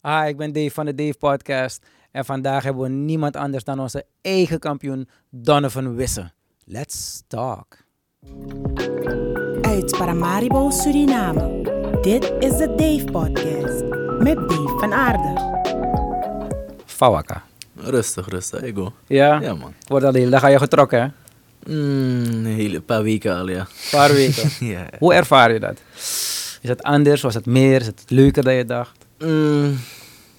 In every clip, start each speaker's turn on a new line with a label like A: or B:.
A: Hi, ik ben Dave van de Dave Podcast. En vandaag hebben we niemand anders dan onze eigen kampioen Donovan Wisse. Let's talk.
B: Uit Paramaribo, Suriname. Dit is de Dave Podcast met Dave van Aarde.
A: Fawaka.
C: Rustig, rustig, ego.
A: Ja?
C: Ja, man.
A: Wordt al de hele dag aan je getrokken, hè? Een
C: Mm, een hele paar weken al, ja.
A: paar weken.
C: ja.
A: Hoe ervaar je dat? Is het anders? Was het meer? Is het leuker dan je dacht?
C: Mm,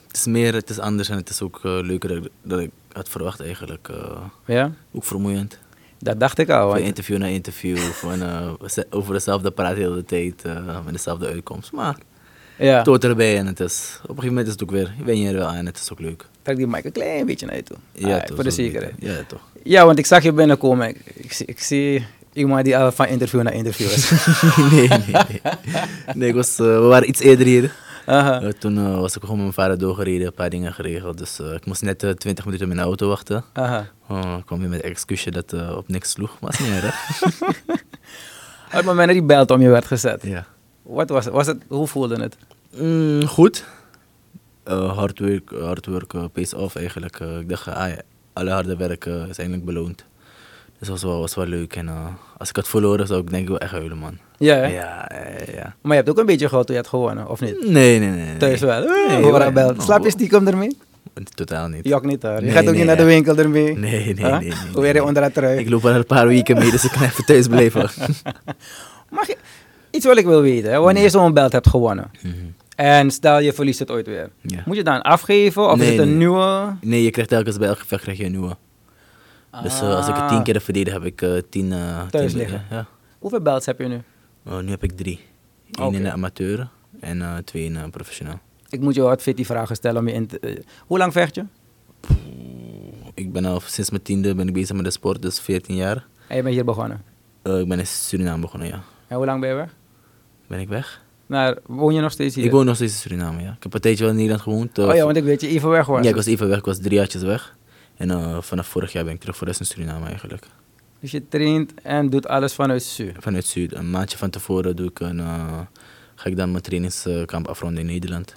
C: het is meer, het is anders en het is ook eh, leuker dan ik, dan ik had verwacht eigenlijk. eh.
A: Ja?
C: ook vermoeiend.
A: Dat dacht ik al.
C: Van
A: want-
C: interview naar interview, van, eh, we ze- over dezelfde praat de hele tijd, eh, met dezelfde uitkomst. Maar
A: Ja.
C: het hoort erbij en het is, op een gegeven moment is het ook weer, wen je er wel aan, het is ook leuk.
A: Trek die mic een klein beetje naar je toe. Ah,
C: toch,
A: Voor de
C: zo beter.
A: zekerheid.
C: Ja, toch.
A: Ja, want ik zag je binnenkomen. Ik, ik, zie- ik zie iemand die al van interview naar interview is.
C: nee, nee, nee. nee ik was, eh, we waren iets eerder hier.
A: Aha.
C: Eh, toen eh, was ik gewoon met mijn vader doorgereden, een paar dingen geregeld. Dus eh, ik moest net eh, 20 minuten op mijn auto wachten.
A: Aha.
C: Oh, ik kwam weer met een excuusje dat eh, op niks sloeg, maar is niet erg.
A: Op het moment dat die belt om je werd gezet.
C: ja.
A: Wat was het? was het? Hoe voelde het?
C: Mm, goed. Eh, hard work, hard work eh, pays off eigenlijk. Eh, ik dacht, eh, ah ja, alle harde werk eh, is eindelijk beloond. Dus dat was wel, was wel leuk. En eh, als ik had verloren, zou ik denk ik wel echt huilen, man.
A: Ja, hè?
C: Ja, ja, ja.
A: Maar je hebt ook een beetje gehad toen je had gewonnen, of niet?
C: Nee, nee, nee. nee.
A: Thuis wel. Eh,
C: Nee,
A: hoor
C: hoor,
A: haar belt.
C: no,
A: Slaap je
C: hoor.
A: stiekem ermee?
C: Totaal niet.
A: Jok niet hoor. Je
C: Nee,
A: gaat ook
C: nee,
A: niet naar de
C: ja.
A: winkel ermee.
C: Nee, nee, nee.
A: Huh?
C: nee, nee,
A: Weer
C: nee.
A: onder dat trui.
C: Ik loop al een paar weken mee, dus ik kan even thuis blijven.
A: Oh, Mag je... Iets wat ik wil weten. hè. Wanneer je zo'n belt hebt gewonnen.
C: Mhm.
A: En stel je verliest het ooit weer.
C: Ja.
A: Moet je dan afgeven of is
C: Nee,
A: het een
C: nee.
A: nieuwe?
C: Nee, je krijgt telkens bij elk gevecht krijg je een nieuwe. Dus eh, als ik het tien
A: Ah.
C: keer heb verdedigd, heb ik eh, tien... eh,
A: Thuis
C: tien-
A: liggen.
C: Ja.
A: Ah. Hoeveel belts heb je nu?
C: Eh, nu heb ik drie. Eén
A: Oké.
C: in de amateur en eh, twee in eh, professioneel.
A: Ik moet je wat fitty vragen stellen om je in te... eh, hoe lang vecht je?
C: Ik ben al sinds mijn tiende ben ik bezig met de sport, dus 14 jaar.
A: En je bent hier begonnen.
C: Eh, ik ben in Suriname begonnen, ja.
A: En hoe lang ben je weg?
C: Ben ik weg?
A: Nou, woon je nog steeds hier?
C: Ik woon nog steeds in Suriname, ja. Ik heb een tijdje wel in Nederland gewoond. eh,
A: Oh ja, want ik weet je even weg hoor.
C: ja, ik was even weg, ik was drie jaartjes weg. En eh, vanaf vorig jaar ben ik terug voor de rest in Suriname eigenlijk.
A: Dus je traint en doet alles vanuit Su.
C: Vanuit Zuid, een maandje van tevoren doe ik een, eh, ga ik dan mijn trainingskamp afronden in Nederland.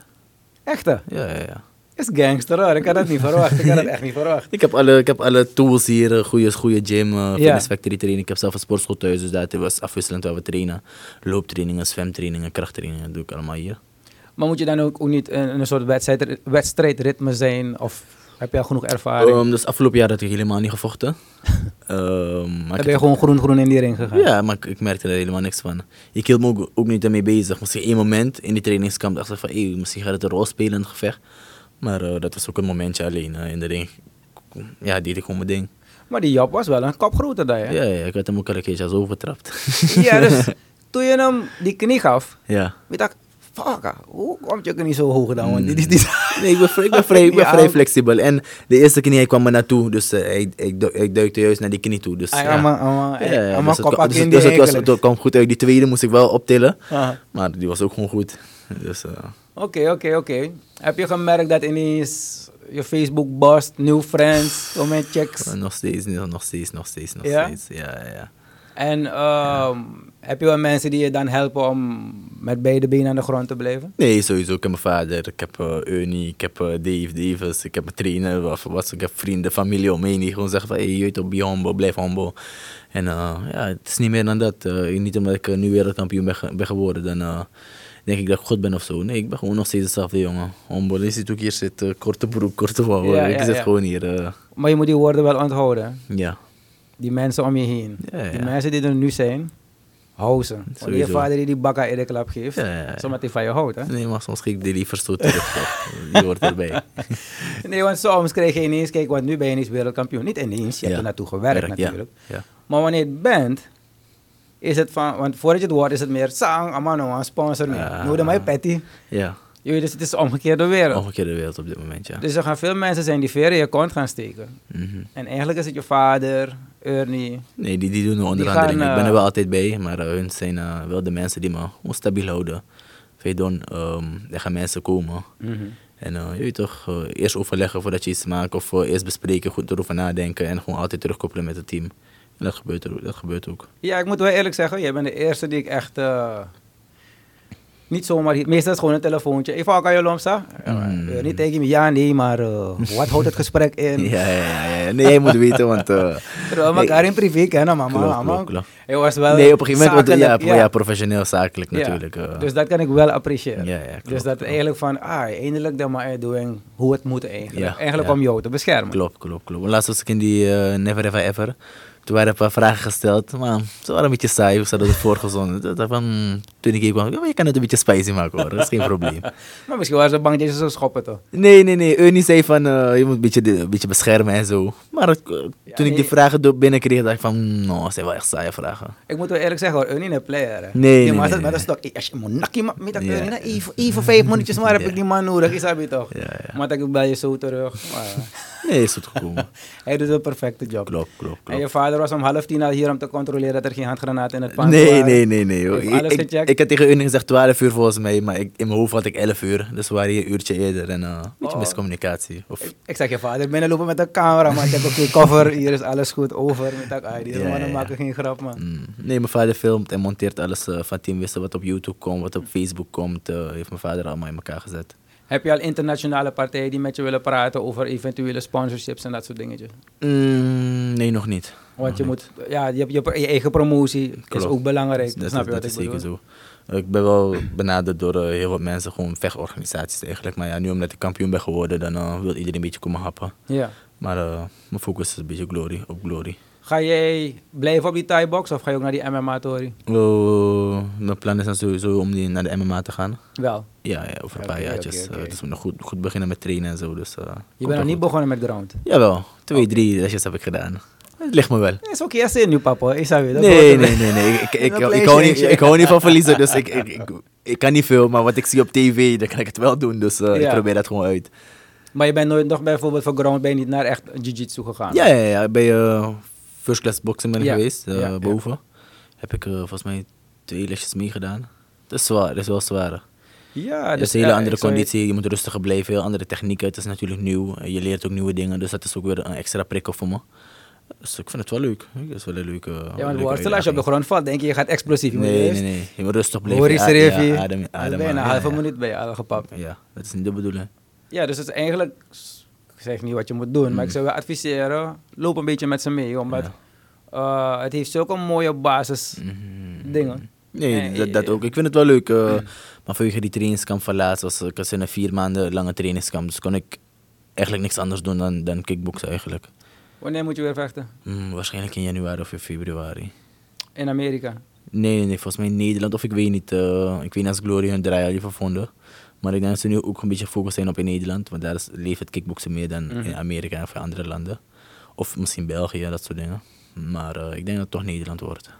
A: Echte?
C: Ja, ja, ja.
A: Is gangster hoor. Ik had dat niet verwacht. Ik had dat echt niet verwacht.
C: Ik heb alle, ik heb alle tools hier, eh, goede, goede gym, eh fitness factory training. Ik heb zelf een sportschool thuis, dus dat was afwisselend waar we trainen. Looptrainingen, zwemtrainingen, krachttrainingen, dat doe ik allemaal hier.
A: Maar moet je dan ook, ook niet in in een soort wedstrijd, wedstrijdritme zijn? Of heb je al genoeg ervaring?
C: Ehm, dus afgelopen jaar had ik helemaal niet gevochten. Ehm, maar ik
A: heb je
C: heb-
A: gewoon groen-groen in die ring gegaan?
C: Ja, maar ik, ik merkte er helemaal niks van. Ik hield me ook, ook niet ermee bezig. Misschien één moment in die trainingskamp dacht ik van, hey, misschien gaat het een rol spelen in het gevecht. Maar eh, dat was ook een momentje alleen eh, in de ring. Ja, deed ik gewoon mijn ding.
A: Maar die Job was wel een kop groter dan je.
C: Ja, ja, ik had hem ook al een keertje als overtrapt.
A: Ja, dus toen je hem die knie gaf,
C: ja.
A: ik dacht, fuck, hoe komt je knie zo hoog dan? Want dit is niet...
C: Hmm. Nee, ik ben vrij, ik ben vrij, ik ben
A: Ja.
C: vrij flexibel. En de eerste knie, hij kwam er naartoe. Dus eh, hij, ik, du- ik duikte juist naar die knie toe. Dus,
A: Ah, ja, maar- maar- eh, maar
C: dus het
A: koppak
C: kwam- dus
A: in
C: het-
A: die
C: dus het, was,
A: eigenlijk. Ah.
C: het kwam goed uit. Die tweede moest ik wel optillen.
A: Aha.
C: Maar die was ook gewoon goed. Dus, eh,
A: Oké, oké, oké. Heb je gemerkt dat ineens je Facebook bust, new friends, comment checks?
C: nog steeds, nog steeds, nog steeds, nog
A: Ja?
C: steeds. Ja, ja, ja.
A: En ehm, heb je wel mensen die je dan helpen om met beide benen aan de grond te blijven?
C: Nee, sowieso. Ik heb mijn vader, ik heb eh Ernie, ik heb eh, Dave Davis, ik heb mijn trainer, of wat, ik heb vrienden, familie om me heen die gewoon zeggen van, hey, je weet toch, be humble, blijf humble. En eh, ja, het is niet meer dan dat. Eh, niet omdat ik eh, nu wereldkampioen ben, ge- ben geworden, dan eh, denk ik dat ik goed ben of zo. Nee, ik ben gewoon nog steeds dezelfde jongen. Humble, je ziet ook hier zit, eh, korte broek, korte mouwen.
A: Ja,
C: ik
A: ja,
C: zit
A: ja.
C: gewoon hier, eh,
A: Maar je moet die woorden wel onthouden. hè?
C: ja.
A: Die mensen om je heen.
C: Ja, ja.
A: Die mensen die er nu zijn, hou ze. Want je
C: Sowieso.
A: vader die die bakka in de klap geeft,
C: Ja, ja, ja.
A: zomaar die van je houdt. Hè?
C: Nee, maar soms geef ik die liever zo terug. toch. die hoort erbij.
A: Nee, want soms krijg je ineens, kijk, want nu ben je ineens wereldkampioen. Niet ineens, je hebt
C: Ja.
A: er naartoe gewerkt
C: Werk, ja.
A: natuurlijk.
C: Ja.
A: Maar wanneer je het bent, is het van, want voordat je het wordt is het meer zang, amano, sponsor me.
C: Ah.
A: Noem mij petty.
C: ja,
A: Je weet, dus het is de omgekeerde wereld.
C: omgekeerde wereld op dit moment, Oh, ja.
A: Dus er gaan veel mensen zijn die ver in je kont gaan steken.
C: Mhm.
A: En eigenlijk is het je vader, Ernie.
C: Nee, die, die doen de
A: gaan,
C: onderhandeling. Ik ben
A: eh,
C: er wel altijd bij, maar eh, hun zijn eh, wel de mensen die me gewoon stabiel houden. Weet je, dan, ehm, er gaan mensen komen.
A: Mhm.
C: En eh, je weet toch, eh, eerst overleggen voordat je iets maakt, of eh, eerst bespreken, goed erover nadenken en gewoon altijd terugkoppelen met het team. En dat gebeurt, er, dat gebeurt ook.
A: Ja, ik moet wel eerlijk zeggen, jij bent de eerste die ik echt eh, Niet zomaar hier. Meestal is gewoon een telefoontje. Even kan je lomsa? Eh, Niet tegen me, ja, nee, maar eh, wat houdt het gesprek in?
C: Ja, ja, ja, ja. Nee, je moet weten, want... eh,
A: Terwijl we
C: nee,
A: elkaar in privé kennen, maar
C: Klopt,
A: mama, mama.
C: klopt, klopt.
A: Het was wel
C: Nee, op een gegeven moment... wordt-
A: zakelijk,
C: ja, ja, professioneel, zakelijk natuurlijk.
A: Ja,
C: eh.
A: Dus dat kan ik wel appreciëren.
C: Ja, ja, klopt,
A: dus dat
C: klopt.
A: eigenlijk van, ah, eindelijk dan maar doing hoe het moet eigenlijk.
C: Ja,
A: eigenlijk
C: ja.
A: om jou te beschermen.
C: Klopt, klopt, klopt. Laatst was ik in die eh, Never Have I Ever. Toen werden een paar vragen gesteld, maar ze waren een beetje saai. We hadden het voorgezonden. Toen dacht ik van, hmm, toen ik hier kwam, ja, maar je kan het een beetje spicy maken hoor, dat is geen probleem.
A: Maar misschien waren ze bang dat je ze zou schoppen toch?
C: Nee, nee, nee. Ernie zei van, eh, je moet een beetje, dit- een beetje beschermen en zo. Maar het- eh, toen ik
A: nee.
C: die vragen door binnenkreeg, dacht ik van, hmm, no, dat zijn wel echt saaie vragen.
A: Ik moet wel eerlijk zeggen hoor, Ernie een player. hè.
C: Nee,
A: die
C: nee,
A: man
C: nee,
A: zat
C: nee.
A: met een stok. Als je moet nakkie maakt met dat
C: Ja.
A: Ernie, nou, even, even vijf minuutjes maar heb
C: Ja.
A: ik die man nodig, is dat niet toch?
C: Ja, ja.
A: Maar ik bel je zo terug. Maar,
C: Nee, is goed gekomen.
A: hij doet een perfecte job.
C: Klopt, klopt,
A: En
C: klopt.
A: je vader was om half tien al hier om te controleren dat er geen handgranaten in het pand
C: Nee,
A: waren.
C: nee, nee, nee. hoor.
A: Heeft alles
C: Ik, ik,
A: gecheckt?
C: ik had tegen Ernie gezegd 12 uur volgens mij, maar ik, in mijn hoofd had ik 11 uur. Dus we waren hier een uurtje eerder en eh, een beetje
A: Oh.
C: miscommunicatie. Of,
A: Ik zag je vader binnenlopen met een camera, maar ik heb ook geen cover. Hier is alles goed over. Met dat, ah, die
C: Ja,
A: mannen
C: ja, ja.
A: maken geen grap, man.
C: Mm. Nee, mijn vader filmt en monteert alles eh, van Team Wissel wat op YouTube komt, wat op Facebook komt. eh, heeft mijn vader allemaal in elkaar gezet.
A: Heb je al internationale partijen die met je willen praten over eventuele sponsorships en dat soort dingetjes?
C: Mm, nee, nog niet.
A: Want je moet, ja, je, je, je eigen promotie is
C: Oh, Klopt.
A: ook belangrijk.
C: Dus Dat,
A: snap je
C: dat
A: wat ik
C: is zeker
A: bedoel?
C: zo. Ik ben wel benaderd door eh, heel wat mensen, gewoon vechtorganisaties eigenlijk. Maar ja, nu omdat ik kampioen ben geworden, dan eh, wil iedereen een beetje komen happen.
A: Ja.
C: Maar eh, mijn focus is een beetje glory, op glory.
A: Ga jij blijven op die Thai box of ga je ook naar die MMA-tory?
C: Eh, mijn plan is dan sowieso om die naar de MMA te gaan.
A: Wel.
C: Ja, ja over een
A: Oké,
C: paar jaartjes.
A: oké, oké.
C: Eh, dus we moeten goed, goed beginnen met trainen en zo. Dus, eh, komt
A: Je
C: wel
A: bent nog niet
C: goed.
A: begonnen met ground.
C: Jawel, twee, drie lesjes heb ik gedaan. Het ligt me wel.
A: Dat is ook eerst in nu, papa. Is dat weer? dat hoort
C: Nee,
A: erbij.
C: nee, nee, nee. Ik, ik,
A: Dat
C: ik, ik hou niet,
A: plezier.
C: ik hou niet van verliezen, dus ik, ik, ik, ik kan niet veel. Maar wat ik zie op tv, dan kan ik het wel doen. Dus eh,
A: Ja.
C: ik probeer dat gewoon uit.
A: Maar je bent nooit nog bijvoorbeeld voor ground, ben je niet naar echt jiu-jitsu gegaan?
C: Ja, ja, ja. Bij eh, First Class Boxing ben ik
A: Ja,
C: geweest, eh,
A: ja, ja.
C: boven. Heb ik eh, volgens mij twee lesjes meegedaan. Het is zwaar, het is wel zwaar.
A: Ja,
C: Het is
A: dus,
C: een hele
A: ja,
C: andere
A: ik zou je-
C: conditie, je moet rustiger blijven, heel andere technieken. Het is natuurlijk nieuw, eh, je leert ook nieuwe dingen, dus dat is ook weer een extra prikkel voor me. Dus ik vind het wel leuk. Het is wel een leuke
A: Ja, want
C: leuke
A: worstelen, als je op de
C: uitdaging.
A: grond valt, denk je, je gaat explosief. Je moet
C: Nee,
A: eerst-
C: nee, nee. Je moet rustig blijven.
A: Hoor je
C: Adem-
A: Serevi?
C: ja, adem, adem,
A: Bijna een
C: ja,
A: halve
C: ja.
A: minuut ben je al gepapt.
C: Ja, dat is niet de bedoeling.
A: Ja, dus het is eigenlijk... Ik zeg niet wat je moet doen,
C: Mm.
A: maar ik zou wel adviseren... Loop een beetje met ze mee, omdat... eh, het heeft zulke mooie basis
C: Mm-hmm.
A: dingen.
C: Nee,
A: En-
C: dat, dat ook. Ik vind het wel leuk. eh, Maar vanwege die trainingskamp van laatst was ik was in een vier maanden lange trainingskamp. Dus kon ik eigenlijk niks anders doen dan, dan kickboksen eigenlijk.
A: Wanneer moet je weer vechten?
C: Hmm, waarschijnlijk in januari of in februari.
A: In Amerika.
C: Nee, nee, nee, volgens mij in Nederland of ik weet niet. eh, ik weet niet als Glory hun draai al even vonden. Maar ik denk dat ze nu ook een beetje gefocust zijn op in Nederland. Want daar is, leeft het kickboksen meer dan in Amerika of in andere landen. Of misschien België, dat soort dingen. Maar eh, ik denk dat het toch Nederland wordt.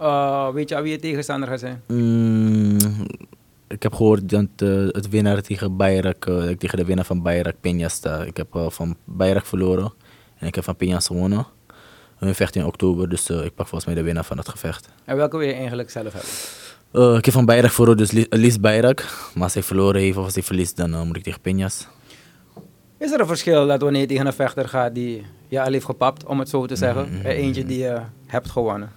A: Eh, weet je al wie je tegenstander gaat zijn?
C: Mm, ik heb gehoord dat eh, het winnaar tegen Bayrak, eh, dat ik tegen de winnaar van Bayrak Peña sta. Ik heb eh, van Bayrak verloren en ik heb van Peña gewonnen. Hun vecht in oktober, dus eh, ik pak volgens mij de winnaar van dat gevecht.
A: En welke wil je eigenlijk zelf hebben?
C: Eh, ik heb van Bayrak verloren, dus Li- Lies Bayrak. Maar als hij verloren heeft of als hij verliest, dan eh, moet ik tegen Peñas.
A: Is er een verschil dat wanneer je tegen een vechter gaat die je al heeft gepapt, om het zo te zeggen,
C: Mm-hmm.
A: en eentje die je hebt gewonnen?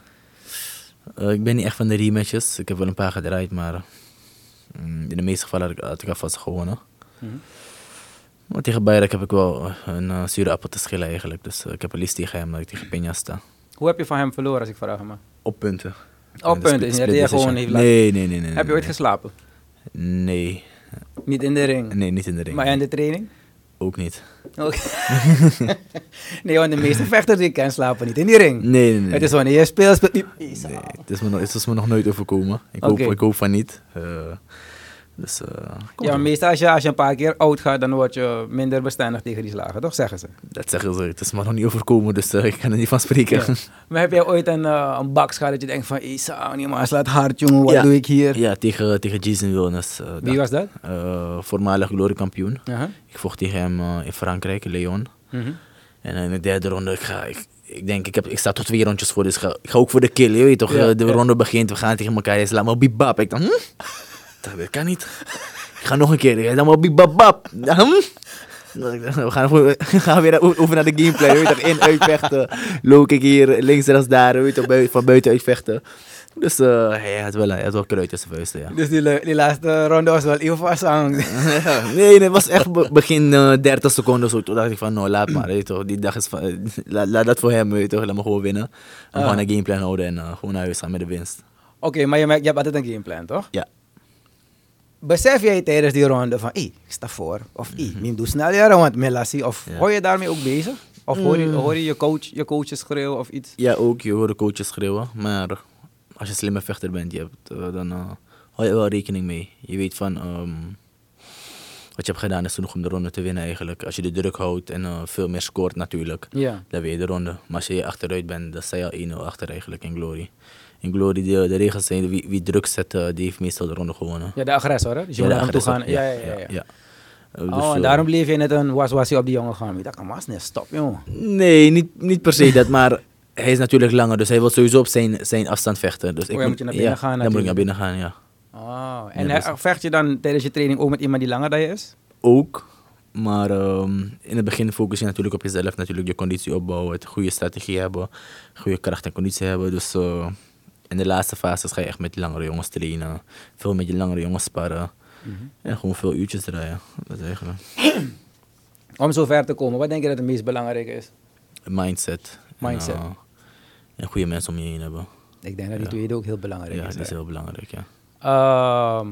C: Eh, ik ben niet echt van de rematches. Ik heb wel een paar gedraaid, maar eh, mm, in de meeste gevallen had ik, had ik alvast gewonnen.
A: Mhm.
C: Maar tegen Bayrak heb ik wel eh, een eh, zure appel te schillen eigenlijk. Dus eh, ik heb een list tegen hem dat ik tegen Peña sta.
A: Hoe heb je van hem verloren, als ik vraag me?
C: Op punten.
A: Op punten, is niet dat hij gewoon heeft laten-
C: Nee, nee, nee. nee
A: Heb je ooit
C: nee.
A: geslapen?
C: Nee.
A: Niet in de ring?
C: Nee, niet in de ring.
A: Maar in de training?
C: Ook niet.
A: Oké. nee, want de meeste vechters die ik ken slapen niet in die ring.
C: Nee, nee, nee.
A: Het is wanneer je speelt, speelt die-
C: Nee, het, is me, nog- het is me nog nooit overkomen. Ik,
A: Oké.
C: hoop, ik hoop van niet. Eh, dus, eh, kom
A: Ja, maar
C: op.
A: meestal als je, als je een paar keer oud gaat, dan word je minder bestendig tegen die slagen, toch? Zeggen ze.
C: dat zeggen ze. Het is me nog niet overkomen, dus eh, ik kan er niet van spreken.
A: Maar heb jij ooit een, eh, een baks gehad dat je denkt van, Isa, nee maar, slaat hard jongen, wat
C: Ja.
A: doe ik hier?
C: Ja, tegen, tegen Jason Wilnes. eh,
A: Wie was dat?
C: eh, voormalig gloriekampioen.
A: Aha.
C: Ik vocht tegen hem eh, in Frankrijk, in Lyon.
A: Mhm.
C: En in de derde ronde, ik, ga, ik, ik denk, ik, heb, ik sta tot twee rondjes voor, dus ik ga, ik ga ook voor de kill. Je weet toch,
A: Ja,
C: eh, de
A: ja.
C: ronde begint, we gaan tegen elkaar, hij slaat me op bibab. Ik dacht, hm? dat weet- kan niet. Ik ga nog een keer, hij slaat me op bibab, bab. Hm? "Nou, We gaan, voor- we gaan weer o- over naar de gameplay. Je Weet toch, in, uitvechten. Low kick hier, links, rechts, daar. je Weet toch, bui- van buiten uitvechten. Dus eh, hij had wel, hij had wel kruid in zijn vuisten, ja.
A: Dus die, le- die laatste ronde was wel even verstandig.
C: Ja, nee, nee, het was echt be- begin eh 30 seconden zo. Toen dacht ik van, nou, laat maar, weet je toch. Die dag is van, eh, laat, laat dat voor hem, weet je toch. Laat me gewoon winnen. En gewoon een gameplan houden en eh, gewoon naar huis gaan met de winst.
A: Oké, maar je, merkt- je hebt altijd een gameplan, toch?
C: Ja.
A: Besef jij tijdens die ronde van, hé, ik sta voor. Of, hé, mim doe snel jaren, want Melassie. Of
C: Ja.
A: hoor je daarmee ook bezig? Of hoor je, hoor je je, coach, je coaches schreeuwen of iets?
C: Ja, ook. Je hoort de coaches schreeuwen. Maar als je een slimme vechter bent, je hebt, eh, dan eh, hou je wel rekening mee. Je weet van... ehm, wat je hebt gedaan is genoeg om de ronde te winnen eigenlijk. Als je de druk houdt en eh, veel meer scoort natuurlijk.
A: Ja.
C: Dan win je de ronde. Maar als je achteruit bent, dan sta je al 1-0 achter eigenlijk in Glory. In Glory, de, de regels zijn, wie, wie druk zet, eh, die heeft meestal de ronde gewonnen.
A: Ja, de agressor, hè? Dus je moet
C: de
A: naar hem toe gaan.
C: agressor.
A: Ja, ja, ja. ja.
C: Eh, dus,
A: Oh, en
C: eh,
A: daarom bleef je net een was-wasie op die jongen gaan. Ik dacht, "Oh, mas, nee, stop, jongen.
C: Nee, niet, niet per se dat, maar hij is natuurlijk langer, dus hij wil sowieso op zijn, zijn afstand vechten. Dus
A: Oh,
C: ik
A: jij moet je naar binnen
C: ja,
A: gaan
C: Dan moet ik naar
A: natuurlijk.
C: binnen gaan, ja.
A: Oh, en
C: Ja, dat
A: eh, vecht je dan tijdens je training ook met iemand die langer dan je is?
C: Ook, maar ehm, in het begin focus je natuurlijk op jezelf, natuurlijk je conditie opbouwen, het goede strategie hebben, goede kracht en conditie hebben. Dus eh, in de laatste fases ga je echt met langere jongens trainen, veel met je langere jongens sparren
A: Mhm.
C: en gewoon veel uurtjes draaien. Dat is eigenlijk
A: Om zo ver te komen, wat denk je dat het meest belangrijk is?
C: een mindset.
A: Mindset.
C: En, eh, en goede mensen om je heen hebben.
A: Ik denk dat die tweede ook heel belangrijk is.
C: Ja,
A: dus.
C: dat is
A: hè.
C: heel belangrijk, ja.
A: Ehm,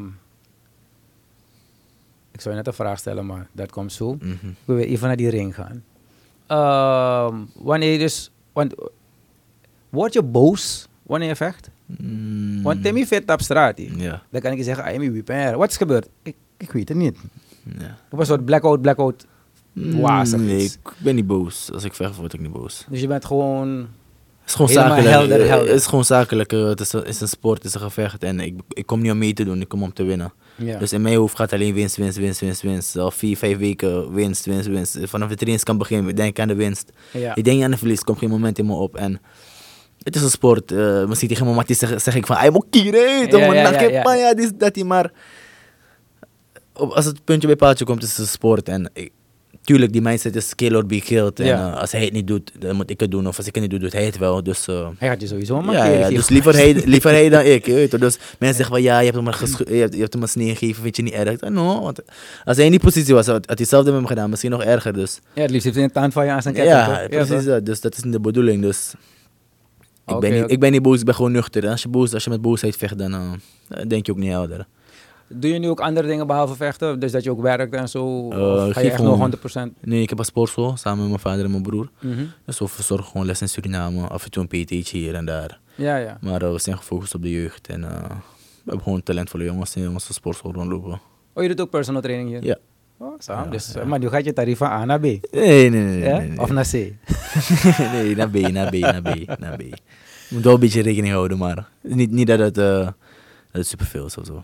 A: ik zou je net een vraag stellen, maar dat komt zo.
C: Mhm.
A: Ik wil weer even naar die ring gaan. Ehm, wanneer je dus... Want, eh, word je boos wanneer je vecht?
C: Mm.
A: Want Timmy vecht op straat. hè.
C: Ja.
A: Dan kan ik je zeggen, ah, Timmy, wie ben je? Wat is gebeurd? Ik, ik weet het niet.
C: ja.
A: Het was een soort blackout, blackout. Wazig
C: Mm, Nee,
A: iets.
C: ik ben niet boos. Als ik vecht, word ik niet boos.
A: Dus je bent gewoon...
C: Het is gewoon
A: Helemaal
C: zakelijk.
A: helder,
C: Eh,
A: helder.
C: Het is gewoon zakelijk. eh, Het is, een- is een sport, het is een gevecht. En ik, ik kom niet om mee te doen, ik kom om te winnen.
A: Ja.
C: Dus in mijn hoofd gaat alleen winst, winst, winst, winst, winst. Al vier, vijf weken winst, winst, winst. Vanaf de trainingskamp begin ik denk aan de winst.
A: Ja.
C: Ik denk niet aan de verlies, komt geen moment in me op. En het is een sport. eh, misschien tegen mijn matties zeg, zeg ik van, I'm okay,
A: Ja,
C: man.
A: ja,
C: dat
A: ja,
C: geen
A: ja.
C: pijn, ja, dit, dat, die, maar... op- als het puntje bij paaltje komt, is het een sport. En ik- tuurlijk, die mindset is kill or be killed. En
A: Ja.
C: eh, als hij het niet doet, dan moet ik het doen. Of als ik het niet doe, doet hij het wel. Dus, eh,
A: Hij gaat je sowieso maar
C: ja, ja, dus liever hij, liever hij dan ik. je weet toch. Dus mensen zeggen van, ja, je hebt hem, maar geschu- je hebt, je hebt hem een snee gegeven, vind je niet erg? Ik zeg, No, want als hij in die positie was, had had hij hetzelfde met hem gedaan. Misschien nog erger, dus...
A: Ja, het liefst heeft hij een tand van je aan zijn ketting. toch?
C: Ja, precies
A: toch?
C: dat. Dus dat is niet de bedoeling. Dus ik,
A: Oké,
C: ben niet,
A: oké.
C: ik ben niet boos, ik ben gewoon nuchter. En Als je, boos, als je met boosheid vecht, dan eh, dan denk je ook niet helder.
A: Doe je nu ook andere dingen behalve vechten? Dus dat je ook werkt en zo?
C: Eh,
A: Of ga je
C: geef
A: echt
C: gewoon-
A: nog 100%?
C: Nee, ik heb een sportschool samen met mijn vader en mijn broer.
A: Mhm.
C: Dus we verzorgen gewoon les in Suriname, af en toe een PT'tje hier en daar.
A: Ja, ja.
C: Maar eh, we zijn gefocust op de jeugd en eh, we hebben gewoon talentvolle jongens in onze sportschool rondlopen.
A: Oh, je doet ook personal training hier?
C: Ja.
A: Oh, saam. dus, Maar nu gaat je tarief van A naar B.
C: Nee, nee, nee.
A: ja?
C: nee, nee.
A: Of naar C?
C: nee, naar B, naar B, naar B, naar B. Je moet wel een beetje rekening houden, maar niet, niet dat het, eh, dat het superveel is of zo.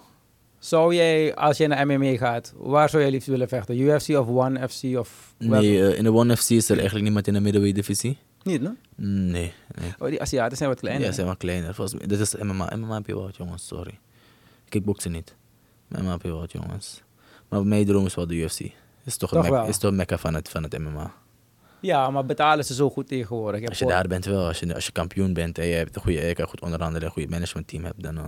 A: Zou jij, als je naar MMA gaat, waar zou jij liefst willen vechten? UFC of One FC of... welke?
C: Nee, eh, in de One FC is er eigenlijk niemand in de middleweight divisie.
A: Niet, no?
C: Nee. nee.
A: Oh, die Aziaten zijn wat kleiner.
C: ja, ze zijn wel kleiner. Volgens mij, dit is MMA. MMA heb je wel wat, jongens, sorry. Kickboksen niet. Maar MMA heb je wel wat, jongens. Maar mijn droom is wel de UFC. Is toch,
A: Toch
C: het
A: wel?
C: Mekka, is toch mekka van het, van het MMA.
A: Ja, maar betalen ze zo goed tegenwoordig. Ik heb
C: Als je
A: gehoord-
C: daar bent wel, als je, als je kampioen bent en je hebt een goede eiker, goed onderhandelen, een goed managementteam hebt, dan, eh,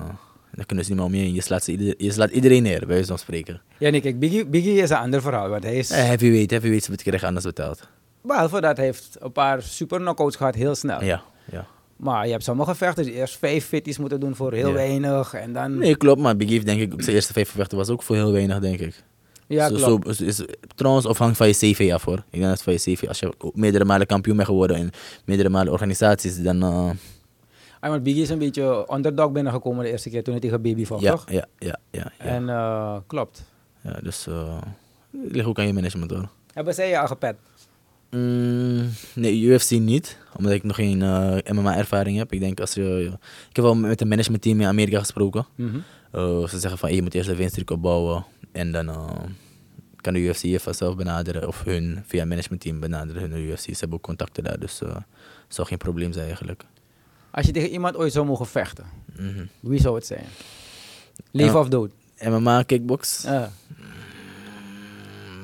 C: dan kunnen ze niet meer omheen. Je slaat, ze ieder- je slaat iedereen neer, bij wijze van spreken.
A: Ja, nee, kijk, Biggie, Biggie is een ander verhaal. Want hij is...
C: Eh, heavyweight, heavyweight wordt krijgen anders betaald.
A: Behalve dat hij heeft een paar super knockouts gehad, heel snel.
C: Ah. Ja, ja.
A: Maar je hebt sommige vechters die eerst vijf fitties moeten doen voor heel
C: Ja.
A: weinig. En dan...
C: Nee, klopt, maar Big Eve, denk ik, op zijn eerste vijf gevechten was ook voor heel weinig, denk ik.
A: ja,
C: zo,
A: klopt.
C: Zo, is- is, trouwens, afhangt van je CV af hoor. Ik denk dat het van je CV, als je ook meerdere malen kampioen bent geworden in meerdere malen organisaties, dan. eh,
A: Ah, want Biggie is een beetje underdog binnengekomen de eerste keer toen hij tegen Baby vocht,
C: ja,
A: toch?
C: ja, ja, ja, ja.
A: En eh, klopt.
C: Ja, Dus eh, het ligt ook aan je management hoor.
A: Hebben zij je al gepet?
C: Mm, nee, UFC niet, omdat ik nog geen eh, MMA-ervaring heb. Ik denk als je. Ik heb wel met een managementteam in Amerika gesproken. Eh, ze zeggen van hey, je moet eerst een winstreek opbouwen en dan eh, kan de UFC je vanzelf benaderen of hun via het managementteam benaderen hun UFC. Ze hebben ook contacten daar, dus eh het zou geen probleem zijn eigenlijk.
A: Als je tegen iemand ooit zou mogen vechten,
C: Mhm.
A: wie zou het zijn? Leven
C: Ja.
A: of dood?
C: MMA, kickbox.
A: Ja.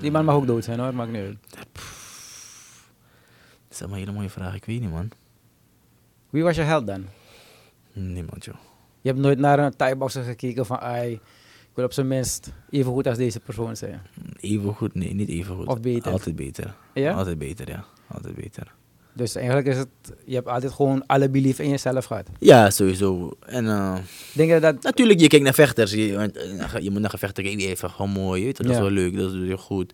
A: Die man mag ook dood zijn hoor, maakt niet uit.
C: Dat is allemaal een hele mooie vraag, ik weet niet man.
A: Wie was je held dan?
C: Niemand joh.
A: Je hebt nooit naar een Thai-boxer gekeken van, ai, ik wil op zijn minst even goed als deze persoon zijn.
C: Even goed, nee, niet even goed.
A: Of beter.
C: Altijd beter.
A: Ja?
C: Altijd beter, ja. Altijd beter.
A: Dus eigenlijk is het, je hebt altijd gewoon alle belief in jezelf gehad.
C: Ja, sowieso. En eh,
A: Denk je dat,
C: natuurlijk, je kijkt naar vechters. Je, want, eh, naar- je moet naar een vechter kijken, die heeft echt gewoon mooi. je weet wel, dat
A: Ja.
C: is wel leuk, dat is wel goed.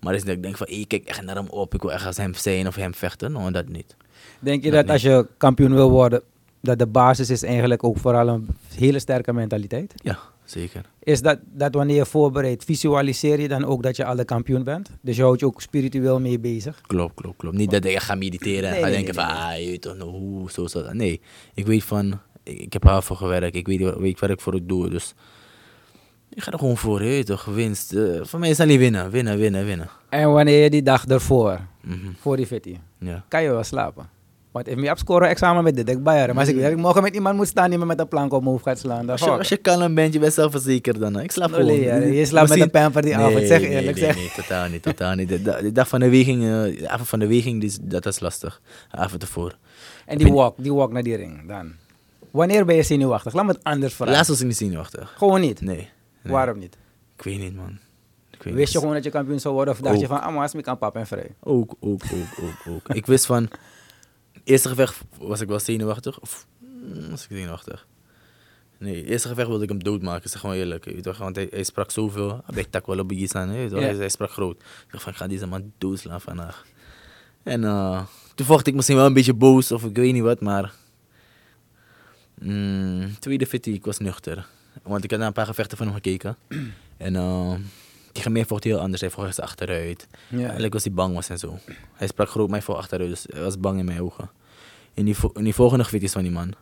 C: Maar is dat ik denk van, hey, ik kijk echt naar hem op. Ik wil echt als hem zijn of hem vechten. Nou, dat niet.
A: denk je
C: Dat
A: dat als je kampioen wil worden, dat de basis is eigenlijk ook vooral een hele sterke mentaliteit?
C: Ja, zeker.
A: Is dat, dat wanneer je voorbereidt, visualiseer je dan ook dat je al de kampioen bent? Dus je houdt je ook spiritueel mee bezig?
C: Klopt, klopt, klopt. Niet dat ik echt ga mediteren en
A: Nee,
C: ga
A: nee,
C: denken
A: nee,
C: van, ah, je weet toch nou hoe, zo, zo. Nee, ik weet van, ik, ik heb haar voor gewerkt, ik weet, weet waar ik voor het doe, dus ik ga er gewoon voor, je weet toch, winst. eh, voor mij is alleen winnen, winnen, winnen, winnen.
A: En wanneer je die dag ervoor,
C: Mhm,
A: voor die fitty,
C: Ja.
A: kan je wel slapen. Want if me opscoren examen met de dik Maar als ik weet dat ik morgen met iemand moet staan die me met een plank op mijn hoofd gaat slaan, dan
C: Als je,
A: fuck.
C: als je kalm bent, je bent zelfverzekerd dan. hè. Ik slaap
A: Nolly,
C: gewoon.
A: ja, je slaapt met een pamper die avond, zeg eerlijk,
C: nee,
A: zeg.
C: Nee, totaal niet, totaal niet. De, da- de dag van de weging, eh, de avond van de weging, die is- dat is lastig. De avond ervoor.
A: En die walk, die walk naar die ring dan. Wanneer ben je zenuwachtig? Laat me het anders vragen.
C: Laatst was ik niet zenuwachtig.
A: Gewoon niet.
C: Nee. nee.
A: Waarom niet?
C: Ik weet niet, man. Ik
A: Wist
C: weet
A: je
C: niet.
A: gewoon dat je kampioen zou worden of dacht je
C: Ook.
A: van, ah, maar als ik aan pap en vrij.
C: Ook, ook, ook, ook, ook. ik wist van, eerste gevecht was ik wel zenuwachtig. Of mm, was ik zenuwachtig? Nee, eerste gevecht wilde ik hem doodmaken, zeg maar eerlijk. Je weet toch, want hij, hij sprak zoveel. Hij tak wel op aan, je weet toch,
A: Ja.
C: hij, hij sprak groot. Ik dacht van, ik ga deze man doodslaan vandaag. En eh, toen vocht ik misschien wel een beetje boos of ik weet niet wat, maar... Mm, tweede fitty, ik was nuchter. Want ik had naar een paar gevechten van hem gekeken. en eh, tegen mij vocht hij heel anders. Hij vocht echt achteruit.
A: Ja.
C: Eigenlijk was hij bang was en zo. Hij sprak groot mij voor achteruit, dus hij was bang in mijn ogen. In die, vo- in die volgende gevechtjes van die man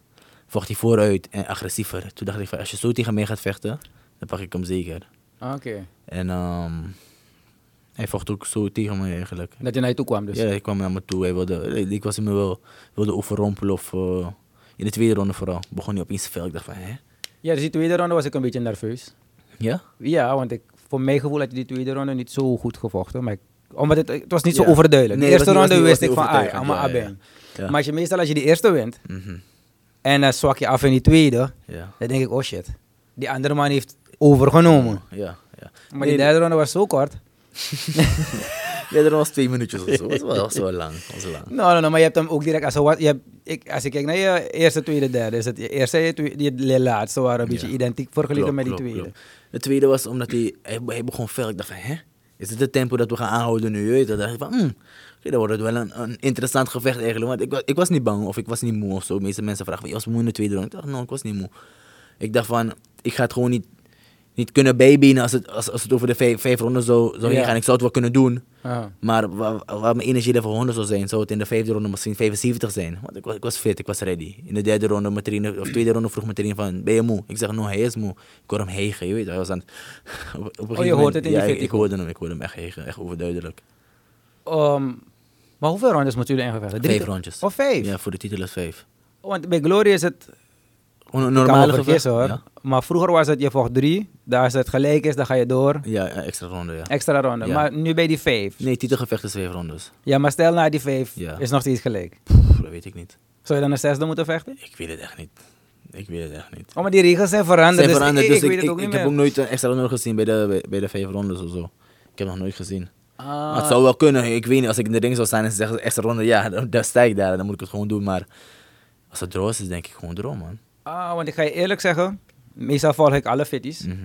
C: vocht hij vooruit en agressiever. Toen dacht ik van, als je zo tegen mij gaat vechten, dan pak ik hem zeker.
A: Ah, Oké.
C: En ehm, hij vocht ook zo tegen mij eigenlijk.
A: Dat je naar je toe kwam dus.
C: Ja, hij kwam naar me toe. Hij wilde, eh, ik was me wel wilde overrompelen of... eh, in de tweede ronde vooral begon hij opeens fel. Ik dacht van, hè?
A: Ja, dus die tweede ronde was ik een beetje nerveus.
C: Ja?
A: Ja, want ik, voor mijn gevoel had je die tweede ronde niet zo goed gevochten. Maar ik- omdat het, het was niet zo
C: Ja.
A: overduidelijk.
C: Nee,
A: de
C: het
A: eerste
C: was niet-
A: ronde
C: was
A: wist
C: niet-
A: ik van,
C: was niet
A: ah, allemaal
C: overtuigend, ja,
A: abeng.
C: ja. Ja.
A: Maar als je meestal als je die eerste wint
C: Mhm.
A: en dan zwak je af in die tweede,
C: Ja.
A: dan denk ik, oh shit, die andere man heeft overgenomen.
C: Ja, ja.
A: Maar die derde ronde was zo kort.
C: Ja, dat was twee minuutjes of zo. Dat was wel, was wel lang. was wel lang.
A: Nou, no, no, maar je hebt hem ook direct als een wat. Je hebt, ik, als ik kijk naar je eerste, tweede, derde, is het je eerste en je tweede, die die laatste waren een beetje
C: Ja.
A: identiek vergeleken
C: Klopt,
A: met die
C: klopt,
A: tweede.
C: klopt. De tweede was omdat hij, hij, hij begon fel. Ik dacht van, hè? Is dit het tempo dat we gaan aanhouden nu? Je weet dat dacht ik van, hmm, oké, dan wordt het wel een, een interessant gevecht eigenlijk. Want ik, wa- ik was niet bang of ik was niet moe of zo. De meeste mensen vragen, van, je was moe in de tweede ronde. Ik dacht, nou, ik was niet moe. Ik dacht van, ik ga het gewoon niet, niet kunnen bijbenen als het, als, als het over de vijf, vijf ronden zou, zou
A: Ja.
C: heen gaan. Ik zou het wel kunnen doen.
A: Ah.
C: Maar waar, waar mijn energielevel 100 zou zijn, zou het in de vijfde ronde misschien 75 zijn. Want ik was, ik was fit, ik was ready. In de derde ronde, mijn trainer, of tweede ronde vroeg mijn trainer van, ben je moe? Ik zeg, no, hij is moe. Ik hoor hem hegen, je weet hij was aan het- op- op een gegeven
A: Oh, hoort
C: moment-
A: het in
C: ja,
A: die
C: ik-
A: fit,
C: ik hoorde hem, ik hoorde hem echt hegen, echt overduidelijk.
A: Ehm, maar hoeveel rondes moeten jullie ingevechten?
C: Vijf rondjes.
A: Of Oh, vijf?
C: Ja, voor de titel is vijf.
A: Want bij Glory is het
C: Een- Een
A: kan
C: normale
A: wel
C: gevecht.
A: vergissen, hoor.
C: Ja,
A: Maar vroeger was het je vocht drie. Daar als het gelijk is, dan ga je door.
C: ja een extra ronde, ja.
A: Extra ronde.
C: Ja.
A: Maar nu bij die vijf.
C: Nee, titelgevecht is vijf rondes.
A: Ja, maar stel na die vijf
C: Ja.
A: is nog steeds gelijk.
C: Pff, dat weet ik niet.
A: Zou je dan een zesde moeten vechten?
C: Ik weet het echt niet. Ik weet het echt niet.
A: Oh, maar die regels zijn veranderd.
C: zijn
A: dus
C: veranderd,
A: ik,
C: dus
A: ik weet het ook niet
C: heb
A: meer.
C: ook nooit een extra ronde gezien bij de, bij, bij de vijf rondes of zo. Ik heb nog nooit gezien.
A: Ah.
C: Maar het zou wel kunnen, ik weet niet, als ik in de ring zou staan en ze zeggen extra ronde, ja, dan, dan sta ik daar en dan moet ik het gewoon doen. Maar als het droog is, is denk ik gewoon droog, man.
A: Ah, want ik ga je eerlijk zeggen, meestal volg ik alle fitties.
C: Mhm.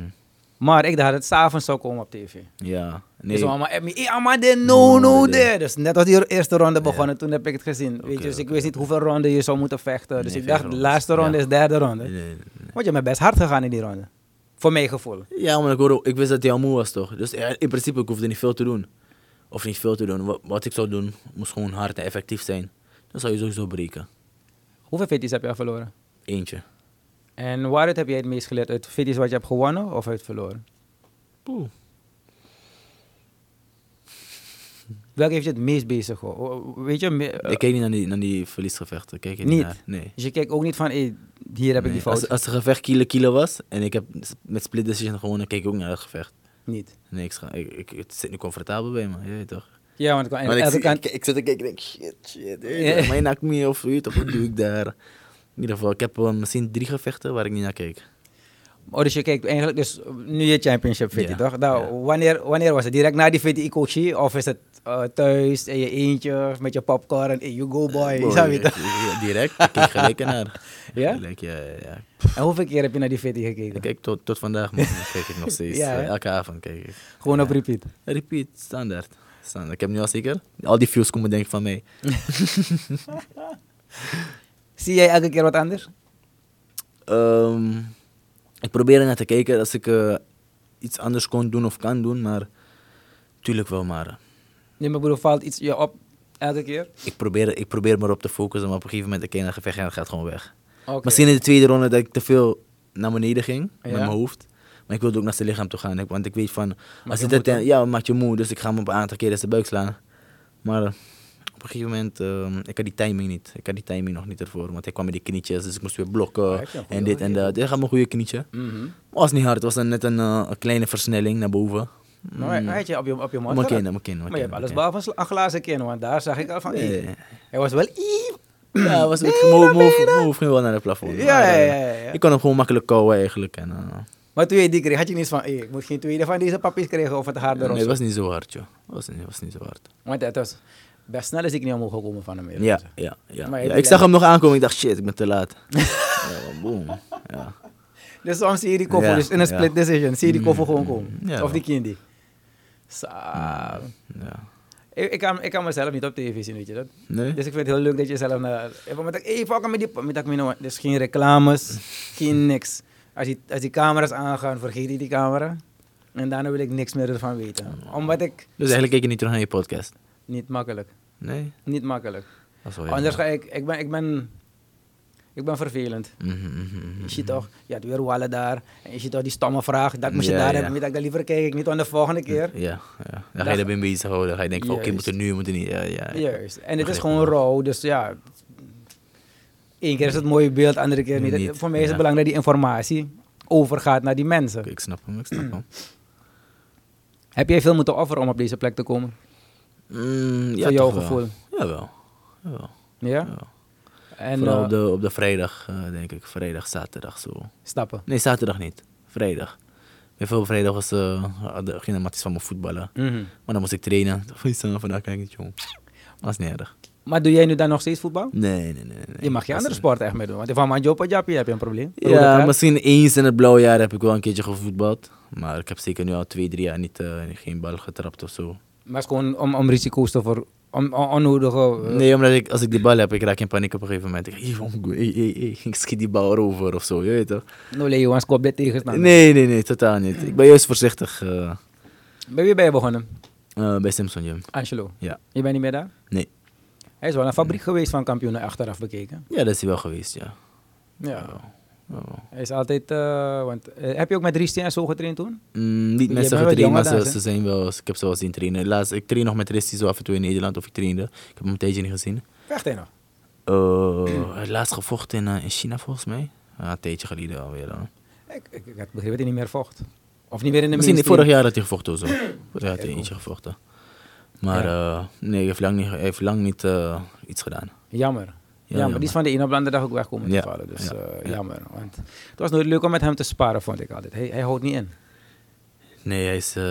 A: Maar ik dacht dat het s'avonds zou komen op tv.
C: Ja,
A: Nee.
C: nee.
A: Dus allemaal at me, "Eh, allemaal dit, no,
C: No,
A: no,
C: dit."
A: dit. Dus net als die eerste ronde begonnen, toen heb ik het gezien. weet je,
C: Oké,
A: dus ik
C: oké,
A: wist niet hoeveel ronden je zou moeten vechten. Dus
C: Nee,
A: ik
C: vijf
A: dacht, de
C: rondes.
A: laatste ronde
C: Ja.
A: is derde ronde.
C: Nee, nee,
A: Want je bent best hard gegaan in die ronde. Voor mijn gevoel.
C: nee. Ja, maar ik, hoorde, ik wist dat hij al moe was, toch? Dus ja, in principe, ik hoefde niet veel te doen. Of niet veel te doen. Wat, wat ik zou doen, moest gewoon hard en effectief zijn. Dan zou je sowieso breken.
A: Hoeveel fitties heb je al verloren?
C: Eentje.
A: En waaruit heb jij het meest geleerd? Uit fitties wat je hebt gewonnen of uit verloren?
C: Poeh.
A: Welke heeft je het meest bezig gehouden? Weet je, me- eh,
C: Ik keek niet naar die, naar die verliesgevechten. Kijk je
A: Niet?
C: Naar, nee.
A: dus je kijkt ook niet van, hey, hier heb ik die
C: Nee,
A: fout.
C: Als, als het gevecht kilo kilo was en ik heb s- met split decision gewonnen, keek ik ook naar het gevecht.
A: Niet.
C: Nee, ik, scha- ik, ik- het zit nu comfortabel bij me, je weet toch?
A: Ja, want ik- aan
C: Want ik,
A: elke
C: zie-
A: kant...
C: ik, ik zit te kijken en denk, shit, shit, je weet toch, mijn nak me of weet toch, wat doe ik daar? In ieder geval, ik heb eh, misschien drie gevechten waar ik niet naar keek.
A: Oh, dus je kijkt eigenlijk dus nu je championship VT,
C: Ja,
A: toch? Nou,
C: ja.
A: wanneer, wanneer was het? Direct na die VT Ikoshi? Of is het eh, thuis in je eentje of met je popcorn en you go boy?
C: Boy,
A: Zou je het-
C: eh, direct, ik keek gelijk ernaar.
A: Ja?
C: Gelijk, ja, ja, ja.
A: En hoeveel keer heb je naar die VT
C: Ik
A: gekeken?
C: kijk tot, tot vandaag, man. kijk ik nog steeds.
A: Ja, hè?
C: eh, elke avond kijk ik.
A: Gewoon op repeat.
C: Repeat, standaard. standaard. Ik heb nu al zeker. Al die views komen denk ik van mij.
A: Zie jij elke keer wat anders?
C: Ehm, ik probeer ernaar te kijken als ik eh, iets anders kon doen of kan doen, maar tuurlijk wel. Maar eh,
A: Nee, mijn broer valt iets je op elke keer.
C: ik probeer, ik probeer me erop te focussen, maar op een gegeven moment ik kijk naar gevecht en het gaat gewoon weg.
A: Oké.
C: Misschien in de tweede ronde dat ik te veel naar beneden ging met
A: Ja.
C: mijn hoofd. Maar ik wilde ook naar zijn lichaam toe gaan. ik- Want ik weet van, als
A: je
C: het
A: moe,
C: uiteindelijk- ja, maakt je moe, dus ik ga hem op een aantal keren zijn buik slaan. Maar eh, op een gegeven moment, ehm, ik had die timing niet. Ik had die timing nog niet ervoor, want hij kwam met die knietjes, dus ik moest weer blokken.
A: heb je een goede
C: en dit en
A: gegeven.
C: dat. Dit gaat mijn goede knietje.
A: Mhm.
C: Was niet hard, het was een- net een, eh, een kleine versnelling naar boven.
A: Nou, hij- hij had je op je, op je mond
C: Mijn kin,
A: gehad.
C: mijn kin, mijn
A: Maar je hebt
C: kin,
A: alles
C: mijn
A: behalve een sla- een glazen kin, want daar zag ik al van...
C: Nee.
A: "Ih." Hij was wel... "Ih."
C: Ja, was
A: Nee,
C: ik mijn
A: dan ben je
C: hoofd- mijn hoofd ging wel naar het plafond.
A: Ja,
C: Maar, eh,
A: ja, ja, ja.
C: Ik kon hem gewoon makkelijk kouwen eigenlijk. En, eh,
A: Maar toen je die kreeg, had je niet van... "Ih, Ik moet geen tweede van deze papjes krijgen of het harder
C: nee,
A: of
C: het
A: zo."
C: was niet zo hard, joh. Het was niet, was niet zo hard.
A: Want het was best snel is ik niet omhoog gekomen van hem. eerlijk
C: Ja,
A: gezegd.
C: ja, ja.
A: Maar
C: ja.
A: je hebt
C: Ik zag hem nog aankomen, ik dacht shit, ik ben te laat. ja, boom. Ja.
A: Dus soms zie je die koffer,
C: Ja,
A: dus in een
C: ja.
A: split decision, zie je die koffer gewoon
C: Mm,
A: komen.
C: ja.
A: of die kindi. Sa-
C: ja.
A: Ik, ik, kan, ik kan mezelf niet op tv zien, weet je dat?
C: Nee?
A: Dus ik vind het heel leuk dat je zelf naar... Even met, hey, fuck met die... Met dat, nou, dus geen reclames, geen niks. Als die, als die camera's aangaan, vergeet ik die camera. En daarna wil ik niks meer ervan weten. Omdat ik...
C: Dus eigenlijk kijk je niet terug naar je podcast?
A: Niet makkelijk.
C: Nee?
A: Niet makkelijk.
C: Dat is wel
A: Anders
C: jammer.
A: ga ik... Ik ben... Ik ben, ik ben vervelend.
C: Mhm, mhm, mhm,
A: Je
C: mhm.
A: ziet toch, je had weer wallen daar. En je ziet toch die stomme vraag. Dat moest je
C: Ja,
A: daar
C: ja.
A: hebben. Dat, dat liever kijk ik niet aan de volgende keer.
C: Ja, ja. Dan ga
A: Dan-
C: je erbij bezig houden. Dan ga je denken van oké,
A: Juist.
C: moet er nu, moet er niet. Ja, ja. ja.
A: Juist. En het is
C: Begrijp
A: gewoon
C: me.
A: rauw. Dus ja, Eén keer is het mooie beeld, andere keer niet.
C: Niet,
A: Voor mij is het
C: ja.
A: belangrijk dat die informatie overgaat naar die mensen.
C: Oké, Ik snap hem, ik snap hem.
A: Heb jij veel moeten offeren om op deze plek te komen?
C: Mm, ja,
A: Voor jouw
C: toch wel.
A: gevoel?
C: Jawel. Jawel.
A: Ja?
C: jawel.
A: En
C: Vooral
A: eh,
C: op, de, op de vrijdag, eh, denk ik. Vrijdag, zaterdag zo.
A: stappen.
C: Nee, zaterdag niet. Vrijdag. Bij veel vrijdag was eh de kinematisch van mijn voetballen.
A: Mhm.
C: Maar dan moest ik trainen. Toen was ik vandaag kijk ik niet, jong. Was niet erg.
A: Maar doe jij nu dan nog steeds voetbal?
C: Nee, nee, nee. nee, nee.
A: Je mag je
C: Was
A: andere
C: een-
A: sport echt mee doen. Want van Manjo Pajapi heb je een probleem. Rode
C: Ja,
A: kaart.
C: misschien eens in het blauwe jaar heb ik wel een keertje gevoetbald. Maar ik heb zeker nu al twee, drie jaar niet, eh, geen bal getrapt of zo.
A: Maar het is gewoon om, om risico's te voor... Om, om onnodige... eh,
C: Nee, omdat ik, als ik die bal heb, ik raak in paniek op een gegeven moment. Ik, hey, jong, hey, hey, hey, ik schiet die bal erover of zo, je weet toch?
A: No Leo, want kop dit tegenstander.
C: Nee, nee, nee, totaal niet. Ik ben juist voorzichtig eh,
A: Bij wie ben je begonnen?
C: eh, bij Simpson Jim.
A: Angelo.
C: Ja,
A: Je bent niet meer daar?
C: nee.
A: Hij is wel een fabriek geweest van kampioenen achteraf bekeken.
C: Ja, dat is hij wel geweest, ja.
A: Ja.
C: Oh.
A: Hij is altijd... eh, want, eh, heb je ook met Ristien en zo getraind toen?
C: Mm, niet
A: Je
C: met ze
A: bent wel
C: getraind, maar
A: jonger dan
C: ze,
A: ze.
C: ze zijn wel, ik heb ze wel zien trainen. Laatst, ik train nog met Risty zo af en toe in Nederland, of ik trainde. Ik heb hem een tijdje niet gezien.
A: Vecht
C: nou.
A: hij nog?
C: Eh, het laatst gevochten in, eh, in China volgens mij. Ja, een tijdje geleden alweer. hoor.
A: Ik, ik, ik had begrepen dat hij niet meer vocht. Of niet meer in de
C: Misschien
A: mainstream.
C: vorig jaar had hij gevochten of zo. Vorig jaar had hij eentje gevochten. Maar eh, nee, hij heeft lang niet, hij heeft lang niet eh, iets gedaan.
A: Jammer. Ja, maar
C: jammer.
A: die is van de ene op de andere dag ook weg komen te
C: Ja,
A: vallen. Dus
C: ja,
A: eh,
C: ja.
A: jammer. Want het was nooit leuk om met hem te sparen, vond ik altijd. Hij, hij houdt niet in.
C: Nee, hij is... eh,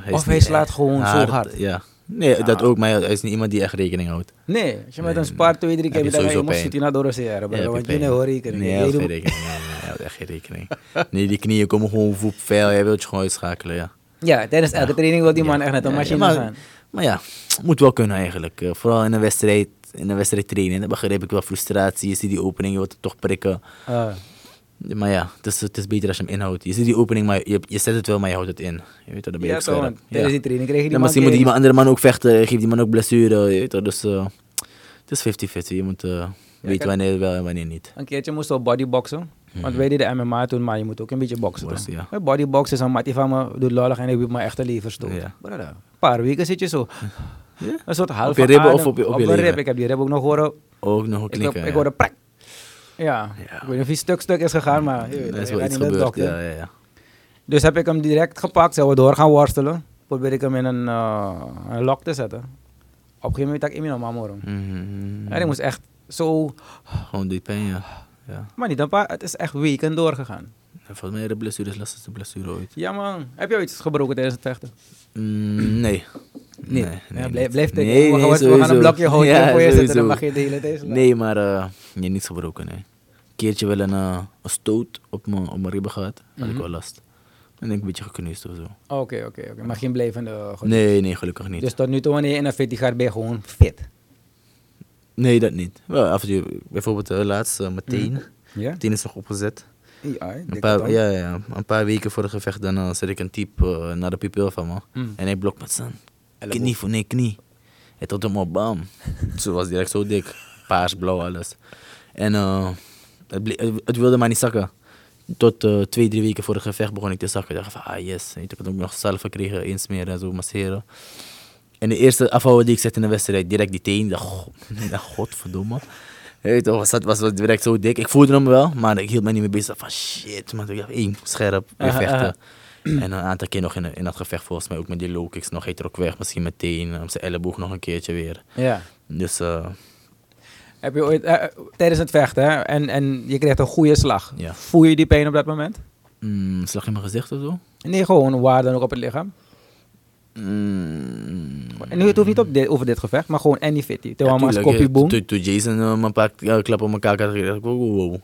C: hij
A: Of hij
C: niet
A: slaat
C: echt
A: gewoon zo hard.
C: Ja. Nee, dat ook, maar hij hij is niet iemand die echt rekening houdt.
A: Nee, als je met
C: Nee,
A: hem spaart twee, drie
C: heb
A: keer,
C: je
A: dan ga je
C: sowieso
A: moet
C: pijn.
A: zitten naar Dorosera.
C: Ja, heb
A: Want
C: je
A: je
C: pijn.
A: hoor ik
C: Nee, hij had geen rekening. Nee, nee, hij had echt geen rekening. Nee, die knieën komen gewoon voep fel. Hij wil je gewoon uitschakelen, ja.
A: Ja, tijdens elke training wil die man echt net een
C: Ja, ja,
A: machine
C: maar,
A: gaan.
C: Maar ja, moet wel kunnen eigenlijk. Eh, vooral in een wedstrijd, in een wedstrijd trainen. Dan begrijp ik wel frustratie. Je ziet die opening, je wilt het toch prikken.
A: Eh,
C: Maar ja, het is, het is beter als je hem inhoudt. Je ziet die opening, maar je, je zet het wel, maar je houdt het in. Je weet toch, dan ben je
A: Ja,
C: ook
A: toch,
C: scherp.
A: want tijdens die training kreeg je die
C: Ja,
A: man
C: misschien moet die
A: keer-
C: ma- andere man ook vechten. Geeft die man ook blessure. Je weet toch, dus eh, het is 50-50. Je moet eh, weten
A: kijk.
C: wanneer wel en wanneer niet.
A: Een keertje moest ik bodyboxen. Want wij deden MMA toen, maar je moet ook een beetje boksen. toch?
C: Worst, Mhm. ja.
A: Bij Bodyboxen is een mattie van me, doet lollig en ik heb mijn echte lever stoot.
C: Ja.
A: Brother, Een paar weken zit je zo.
C: Ja?
A: Een soort halve
C: je ribben of
A: adem-
C: op je- op je
A: mijn
C: lever?
A: rib. Ik heb die rib ook nog horen.
C: Ook nog een
A: Ik, heb,
C: klinken.
A: ik
C: ja.
A: hoorde prak. Ja. ik weet niet of hij stuk stuk is gegaan, maar je weet
C: Er
A: het,
C: is
A: je
C: wel
A: gaat
C: iets
A: niet naar de
C: gebeurd.
A: dokter.
C: Ja, ja, ja.
A: Dus heb ik hem direct gepakt, zijn we door gaan worstelen. Probeer ik hem in een, eh, een lok te zetten. Op een gegeven moment had ik hem in mijn mama hoor.
C: Mhm.
A: En ik moest echt zo
C: Gewoon die pijn, ja. ja.
A: Maar niet een paar, het is echt weken doorgegaan.
C: En Volgens mij de blessure is de lastigste blessure ooit.
A: Ja man, heb je ooit iets gebroken tijdens het vechten?
C: Mm, nee.
A: Nee. Ja, blijf, blijf
C: nee,
A: tikken. we,
C: nee,
A: gaan- we gaan
C: sowieso.
A: een blokje houtje
C: Ja,
A: voor je zetten,
C: sowieso.
A: dan mag je de hele tijd slaan.
C: Nee, maar eh, nee, niet gebroken. Nee. Een keertje wel een, eh, een stoot op mijn op mijn ribben gehad. Had ik
A: Mhm.
C: wel last. En ik een beetje gekneusd of zo.
A: Oké, oké, oké. Maar geen blijvende... eh, goed.
C: Nee, nee, gelukkig niet.
A: Dus tot nu toe, wanneer je in een fitty gaat, ben je gewoon fit.
C: Nee, dat niet. Wel, af en toe, bijvoorbeeld eh, de laatste, mijn teen.
A: Mhm. Ja?
C: Mijn teen is nog opgezet.
A: Ja, dikke
C: Een paar,
A: tong.
C: ja, ja, een paar weken voor het gevecht, dan eh, zet ik een type eh, naar de pupil van me.
A: Mm.
C: En hij blokt met zijn knie voor nee, knie. Hij tot hem op, bam. ze was direct zo dik. Paars, blauw, alles. En eh, het, ble- eh, het- het wilde maar niet zakken. Tot eh, twee, drie weken voor het gevecht begon ik te zakken. Ik dacht van, ah yes. En ik had ook nog zelf gekregen, insmeren en zo, masseren. En de eerste afhouden die ik zette in de wedstrijd, direct die teen. Ik dacht, "Go- ik dacht, godverdomme. Je Weet toch, was dat was wel direct zo dik. Ik voelde hem wel, maar ik hield me niet meer bezig. Van shit, man. Ik dacht, één, scherp, weer
A: Aha,
C: vechten.
A: aha.
C: En een aantal keer nog in, in dat gevecht, volgens mij ook met die low kicks nog. Hij trok weg, misschien meteen. eh, Op zijn elleboog nog een keertje weer.
A: Ja.
C: Dus eh,
A: Heb je ooit, eh, eh, tijdens het vechten, hè, en, en je krijgt een goede slag.
C: Ja.
A: Voel je die pijn op dat moment?
C: mm, slag in mijn gezicht of zo.
A: Nee, gewoon waar dan ook op het lichaam.
C: Mm,
A: En nu, het hoeft niet op dit, over dit gevecht, maar gewoon any fitty. Terwijl maar als
C: tuurlijk,
A: kopie
C: eh,
A: boom.
C: Toen toen Jason eh, me een paar eh, klappen op elkaar had gegeven, dacht ik, wow, wow, wow.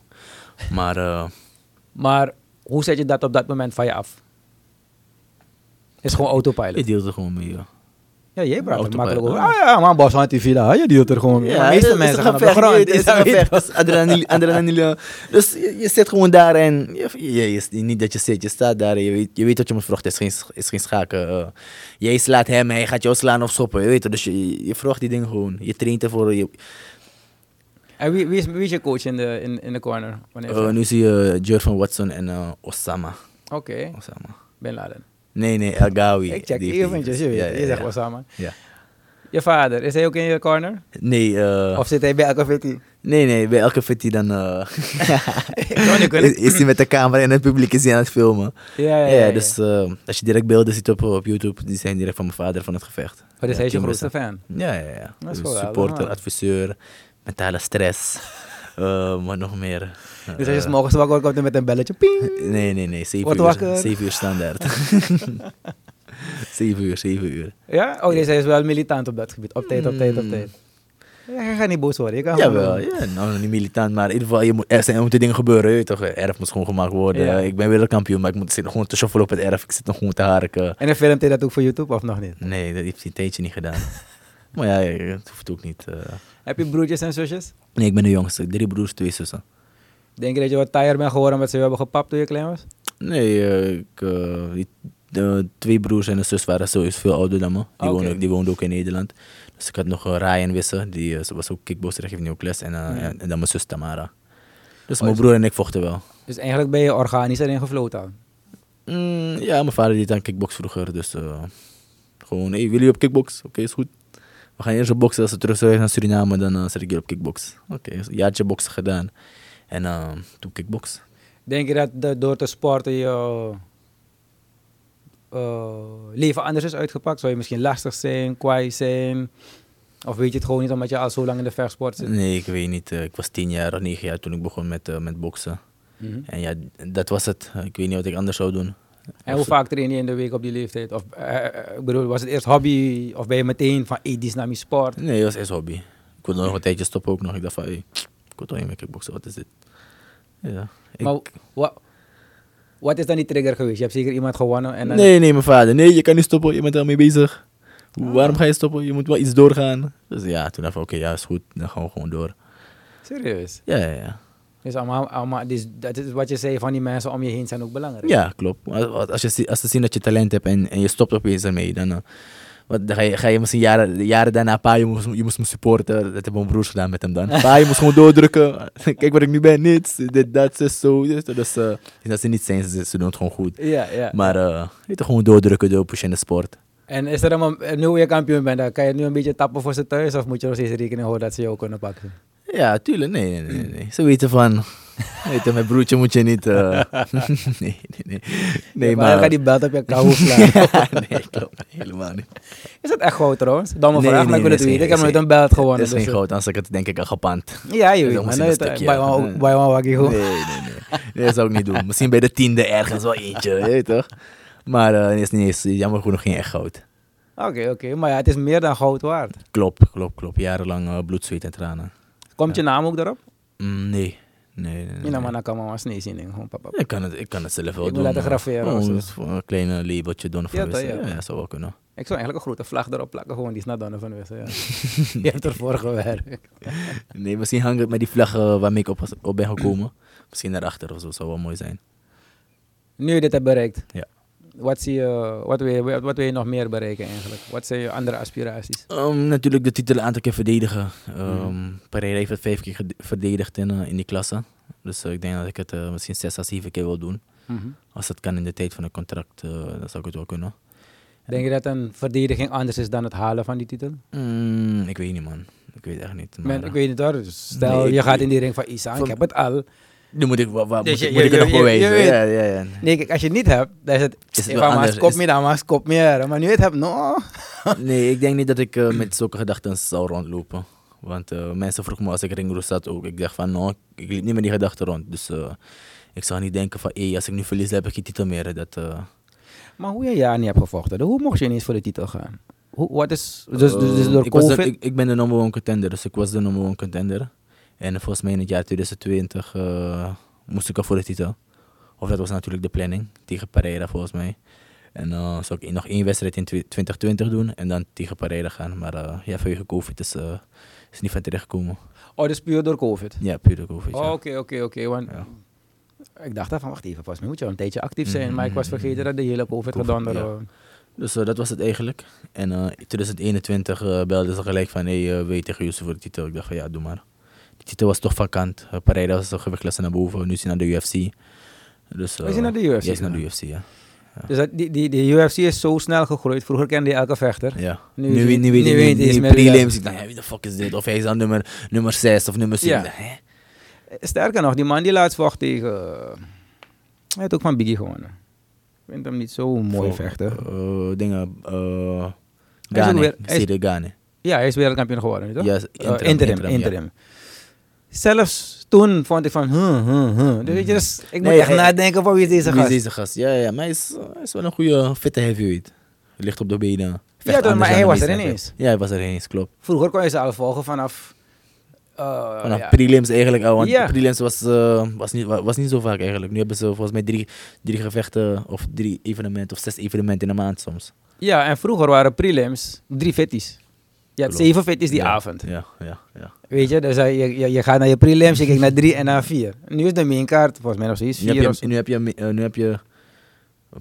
C: Maar eh,
A: Maar hoe zet je dat op dat moment van je af? Is gewoon autopilot.
C: ik deelde er gewoon mee. Ja.
A: Ja, jij praat er
C: Autopilot,
A: makkelijk over.
C: ja.
A: Ah ja, maar Bas van TV, daar, je deelt er gewoon mee. de meeste mensen gaan op de grond. die zijn weet-
C: dus adrenaline, adrenaline. Dus je, je zit gewoon daar en je, je- je- niet dat je zit, je staat daar en je weet, je weet dat je moet vruchten. Het is geen, is geen schaken. eh. jij slaat hem, hij gaat jou slaan of schoppen. Je weet het, dus je, je vraagt die dingen gewoon. Je traint ervoor. Je,
A: En wie, wie, is, wie is je coach in de, in, in de corner? Wanneer
C: eh, nu zie je Jurgen Watson en eh, Osama.
A: Oké,
C: Osama.
A: Ben Laden.
C: Nee, nee, El Gawi.
A: Ik check
C: Die- die-
A: eventjes, je weet.
C: ja,
A: je
C: ja,
A: zegt
C: ja.
A: wel samen.
C: Ja.
A: Je vader, is hij ook in je corner?
C: Nee, eh,
A: Of zit hij bij elke fitty?
C: nee, nee, bij elke fitty dan eh,
A: Zou niet kunnen.
C: is, is hij met de camera en het publiek is hij aan het filmen.
A: Ja,
C: Ja,
A: ja, ja.
C: dus eh, als je direct beelden ziet op, op YouTube, die zijn direct van mijn vader van het gevecht.
A: Oh, dus
C: Ja,
A: hij is je
C: Tim
A: grootste
C: Russen.
A: fan.
C: Ja, ja, ja.
A: Dat is ah.
C: Dus
A: geweldig,
C: supporter,
A: man.
C: adviseur, mentale stress, eh, wat nog meer.
A: Dus als je
C: Eh,
A: 's morgens wakker wordt, komt hij met een belletje. Ping!
C: Nee, nee, nee, 7
A: Wordt
C: uur,
A: wakker.
C: 7 uur standaard. 7 uur, 7 uur.
A: Ja? Oh, deze is wel militant op dat gebied. Op tijd, op tijd, op tijd. Hmm. Ja, je gaat niet boos worden. Je kan
C: Jawel,
A: gewoon-
C: ja, nou niet militant, maar in ieder geval, je moet, er, zijn, er moeten dingen gebeuren, je weet toch? Erf moet schoongemaakt worden.
A: Ja.
C: Ik ben wereldkampioen, maar ik moet, zit nog gewoon te shuffelen op het erf. Ik zit nog gewoon te harken.
A: En dan filmt hij dat ook voor YouTube of nog niet?
C: Nee, dat heeft hij een tijdje niet gedaan. maar ja, ja, dat hoeft ook niet. eh.
A: Heb je broertjes en zusjes?
C: Nee, ik ben de jongste. Drie broers, twee zussen.
A: Denk je dat je wat taaier bent geworden omdat ze je hebben gepapt toen je klein was?
C: Nee, eh, ik, eh, die- de twee broers en een zus waren sowieso veel ouder dan me.
A: Oké.
C: Die, woonden, die woonden ook in Nederland. Dus ik had nog eh, Ryan Wissen, die eh, ze was ook kickboxer, die geeft nu ook les. En, eh, en, en dan mijn zus Tamara. Dus mijn broer en ik vochten wel.
A: Dus eigenlijk ben je organisch erin gefloten al.
C: Mm, ja, mijn vader deed aan kickbox vroeger, dus eh, gewoon, hey, willen jullie op kickbox? Oké, is goed. We gaan eerst op boksen, als we terug zijn naar Suriname, dan eh, zet ik je op kickbox. Oké, dus een jaartje boksen gedaan. En eh, toen kickbox.
A: Denk je dat de- door te sporten je eh, leven anders is uitgepakt? Zou je misschien lastig zijn, kwaai zijn? Of weet je het gewoon niet omdat je al zo lang in de vechtsport zit?
C: Nee, ik weet niet, eh, ik was tien jaar of negen jaar toen ik begon met, eh, met boksen.
A: Mhm.
C: En ja, dat was het. Eh, Ik weet niet wat ik anders zou doen.
A: En hoe vaak train je in de week op die leeftijd? Of, eh, eh, ik bedoel, was het eerst hobby? Of ben je meteen van, hey, die is naar mijn sport?
C: Nee, dat was eerst hobby. Ik wilde nog een tijdje stoppen ook nog. Ik dacht van, hey, ik wil toch niet meer kickboksen, wat is dit? Ja, ik-
A: Maar wa- wat is dan die trigger geweest? Je hebt zeker iemand gewonnen en dan...
C: Nee, nee, mijn vader. Nee, je kan niet stoppen. Je bent ermee bezig.
A: Oh.
C: Hoe- Waarom ga je stoppen? Je moet wel iets doorgaan. Dus ja, toen dacht ik, oké, ja, is goed. Dan gaan we gewoon door.
A: Serieus?
C: Ja, ja, ja.
A: Dus allemaal, allemaal, dus dat is wat je zei van die mensen om je heen zijn ook belangrijk.
C: Ja, klopt. Als- Als, als, je, zie- als ze zien dat je talent hebt en, en je stopt opeens ermee, dan, eh, wat, dan ga, je, ga je misschien jaren, jaren daarna, pa, je moest, je moest me supporten. Dat hebben mijn broers gedaan met hem dan. Pa, je moest gewoon doordrukken. Kijk waar ik nu ben, niets. Dit, dat, zus, zo. Dus, dus eh, dat ze niet zijn, ze, ze doen het gewoon goed.
A: Ja, ja.
C: Maar eh, weet je, gewoon doordrukken, doorpushen in de sport.
A: En is er een, mom- nu je kampioen bent, dan kan je nu een beetje tappen voor ze thuis? Of moet je nog steeds rekening houden dat ze jou kunnen pakken? Hmm.
C: Ja, tuurlijk. Nee, nee, nee. nee. Ze weten van, Weet je, mijn broertje moet je niet... eh, nee, nee, nee. Nee,
A: maar... Dan gaat
C: maar...
A: die belt op je kou slaan.
C: nee, klopt. Helemaal niet.
A: Is dat echt goud trouwens? Domme
C: Nee,
A: vraag,
C: nee,
A: maar ik wil
C: nee,
A: het
C: is
A: weten. Ik
C: geen-
A: heb
C: is
A: nooit
C: geen-
A: een belt gewonnen.
C: Dat is geen
A: dus, eh,
C: groot, anders had ik het denk ik al gepand.
A: Ja, je
C: Dat
A: weet maar.
C: moest in
A: nooit,
C: een
A: eh,
C: stukje,
A: Bij
C: ja.
A: Wauw-
C: Nee.
A: bij Wauw Wakkie
C: Nee,
A: gewoon.
C: nee, nee. Nee, Dat zou ik niet doen. Misschien bij de tiende ergens wel eentje, je weet toch? Maar eh, nee, is niet eens, jammer genoeg geen echt goud.
A: Oké, oké. Maar ja, het is meer dan goud waard.
C: Klopt, klopt, klopt. Jarenlang eh, bloed, zweet en tranen.
A: Komt je naam ook daarop?
C: Mm, nee. Nee, nee,
A: Ja,
C: nee.
A: nou, maar dan kan mama sneeuw zien. denk ik. Gewoon papa.
C: Ik kan het, ik kan het zelf wel
A: Ik moet
C: doen.
A: laten
C: maar-
A: graveren
C: Oh,
A: of zo.
C: dat is voor een klein labeltje doen.
A: Ja,
C: Ja,
A: toch,
C: ja,
A: ja.
C: ja. ja, zou wel kunnen.
A: Ik zou eigenlijk een grote vlag erop plakken. Gewoon die is naar Donovan Wessel. Ja. Je hebt ervoor gewerkt.
C: Nee, misschien hangt het met die vlag eh, waarmee ik op, was- op ben gekomen. misschien daarachter of zo, zou wel mooi zijn.
A: Nu je dit hebt bereikt.
C: Ja.
A: Wat, zie je, wat, wil je, wat wil je nog meer bereiken eigenlijk? Wat zijn je andere aspiraties?
C: Ehm, natuurlijk de titel een aantal keer verdedigen. Ehm
A: Mm.
C: Pereira heeft het vijf keer gede- verdedigd in, eh, in die klasse. Dus eh, ik denk dat ik het eh, misschien zes à zeven keer wil doen.
A: Mhm.
C: Als dat kan in de tijd van een contract, eh, dan zou ik het wel kunnen.
A: Denk je dat een verdediging anders is dan het halen van die titel?
C: Mm, ik weet niet, man. Ik weet echt niet. Maar,
A: Men, ik weet niet hoor. Dus Stel,
C: nee,
A: je
C: ik-
A: gaat in die ring van Isa. Ik
C: Van-
A: heb het al.
C: eh, Nu moet ik, wa- wa-
A: Dus
C: moet,
A: je-
C: ik- moet
A: je-
C: ik het nog
A: je- je
C: bewijzen.
A: weet-
C: ja, ja, ja.
A: Nee, kijk, als je het niet hebt, dan is het.
C: Is het
A: "Eh,
C: wel
A: van
C: anders,
A: maar kop
C: is-
A: meer dan, maar kop meer. Maar nu het hebt, no.
C: Nee, ik denk niet dat ik eh, met zulke gedachten zou rondlopen. Want eh, mensen vroegen me als ik ringroes zat ook. Ik dacht van, nou, ik, ik liep niet met die gedachten rond. Dus eh, ik zou niet denken van, hé, als ik nu verlies, dan heb ik geen titel meer. Dat, eh,
A: Maar hoe je een jaar niet hebt gevochten, hoe mocht je ineens voor de titel gaan? Hoe, wat is, dus, dus, dus
C: eh,
A: door
C: ik, was de-
A: COVID?
C: ik, ik ben de number one contender, dus ik was de number one contender. En volgens mij in het jaar 2020 eh, moest ik al voor de titel. Of dat was natuurlijk de planning, tegen Pereira volgens mij. En eh zou ik nog één wedstrijd in twe- 2020 doen en dan tegen Pereira gaan. Maar eh, ja, vanwege COVID is, eh, is niet van terechtgekomen.
A: Oh, dus puur door COVID?
C: Ja, puur door COVID.
A: Oh,
C: ja.
A: Oké, oké, oké. Want
C: Ja. Mm.
A: ik dacht daarvan, wacht even, pas moet je al een tijdje actief zijn. Maar ik was vergeten dat de hele COVID
C: Covid,
A: gedonder
C: ja.
A: was.
C: Dus eh, dat was het eigenlijk. En eh, in 2021 eh, belden ze gelijk van, hé, hey, weet je tegen Yusuf voor de titel? Ik dacht van, ja, doe maar. Die titel was toch vakant. Uh, Pereira was toch gewichtklasse naar boven. Nu is hij naar de UFC. Dus, eh,
A: Is hij naar de UFC
C: Hij is naar de
A: gegaan?
C: UFC, ja.
A: Dus dat, die, die, die UFC is zo snel gegroeid. Vroeger kende je elke vechter.
C: ja.
A: Nu
C: Nu,
A: is hij-
C: nu, weet
A: nu
C: ik
A: weet
C: niet.
A: hij is
C: Die
A: met wie
C: prelims.
A: dat-
C: Ik dacht, ja, wie de fuck is dit? Of hij is aan nummer, nummer 6 of nummer 7.
A: Ja.
C: Hè?
A: Sterker nog, die man die laatst vocht tegen... eh, Hij heeft ook van Biggie gewonnen. Ik vind hem niet zo mooi
C: Voor,
A: vechter.
C: eh, dingen. eh
A: Hij is ook weer-
C: Ghani.
A: hij is-
C: Cyril Ghani.
A: Ja, hij is wereldkampioen geworden, toch?
C: Ja,
A: Eh,
C: interim,
A: interim, interim.
C: interim, ja.
A: Zelfs toen vond ik van, huh, huh, huh. Dus weet je, dus ik moet
C: Mm-hmm. Nee,
A: echt
C: hij-
A: nadenken van wie is deze
C: Wie is
A: gast.
C: deze gast? Ja, ja, maar hij is, hij is wel een goede, fitte heavyweight. Ligt op de benen. Vecht
A: toch,
C: anders
A: maar hij
C: dan de
A: was er
C: meeste
A: ineens.
C: Ja, hij was er ineens, klopt.
A: Vroeger kon je ze al volgen vanaf... eh,
C: Vanaf
A: ja.
C: prelims eigenlijk al, want
A: Ja.
C: prelims was, eh, was, niet, wa- was niet zo vaak eigenlijk. Nu hebben ze volgens mij drie, drie gevechten of drie evenementen of zes evenementen in een maand soms.
A: Ja, en vroeger waren prelims drie fitties. Je had
C: Klopt.
A: zeven fitties die
C: Ja,
A: avond.
C: Ja, ja, ja.
A: Weet je, dus eh, je, je, je gaat naar je prelims, je kijkt naar drie en naar vier. Nu is de mainkaart volgens mij nog steeds
C: Nu heb,
A: vier of
C: je,
A: zo.
C: nu, heb je, eh, nu heb je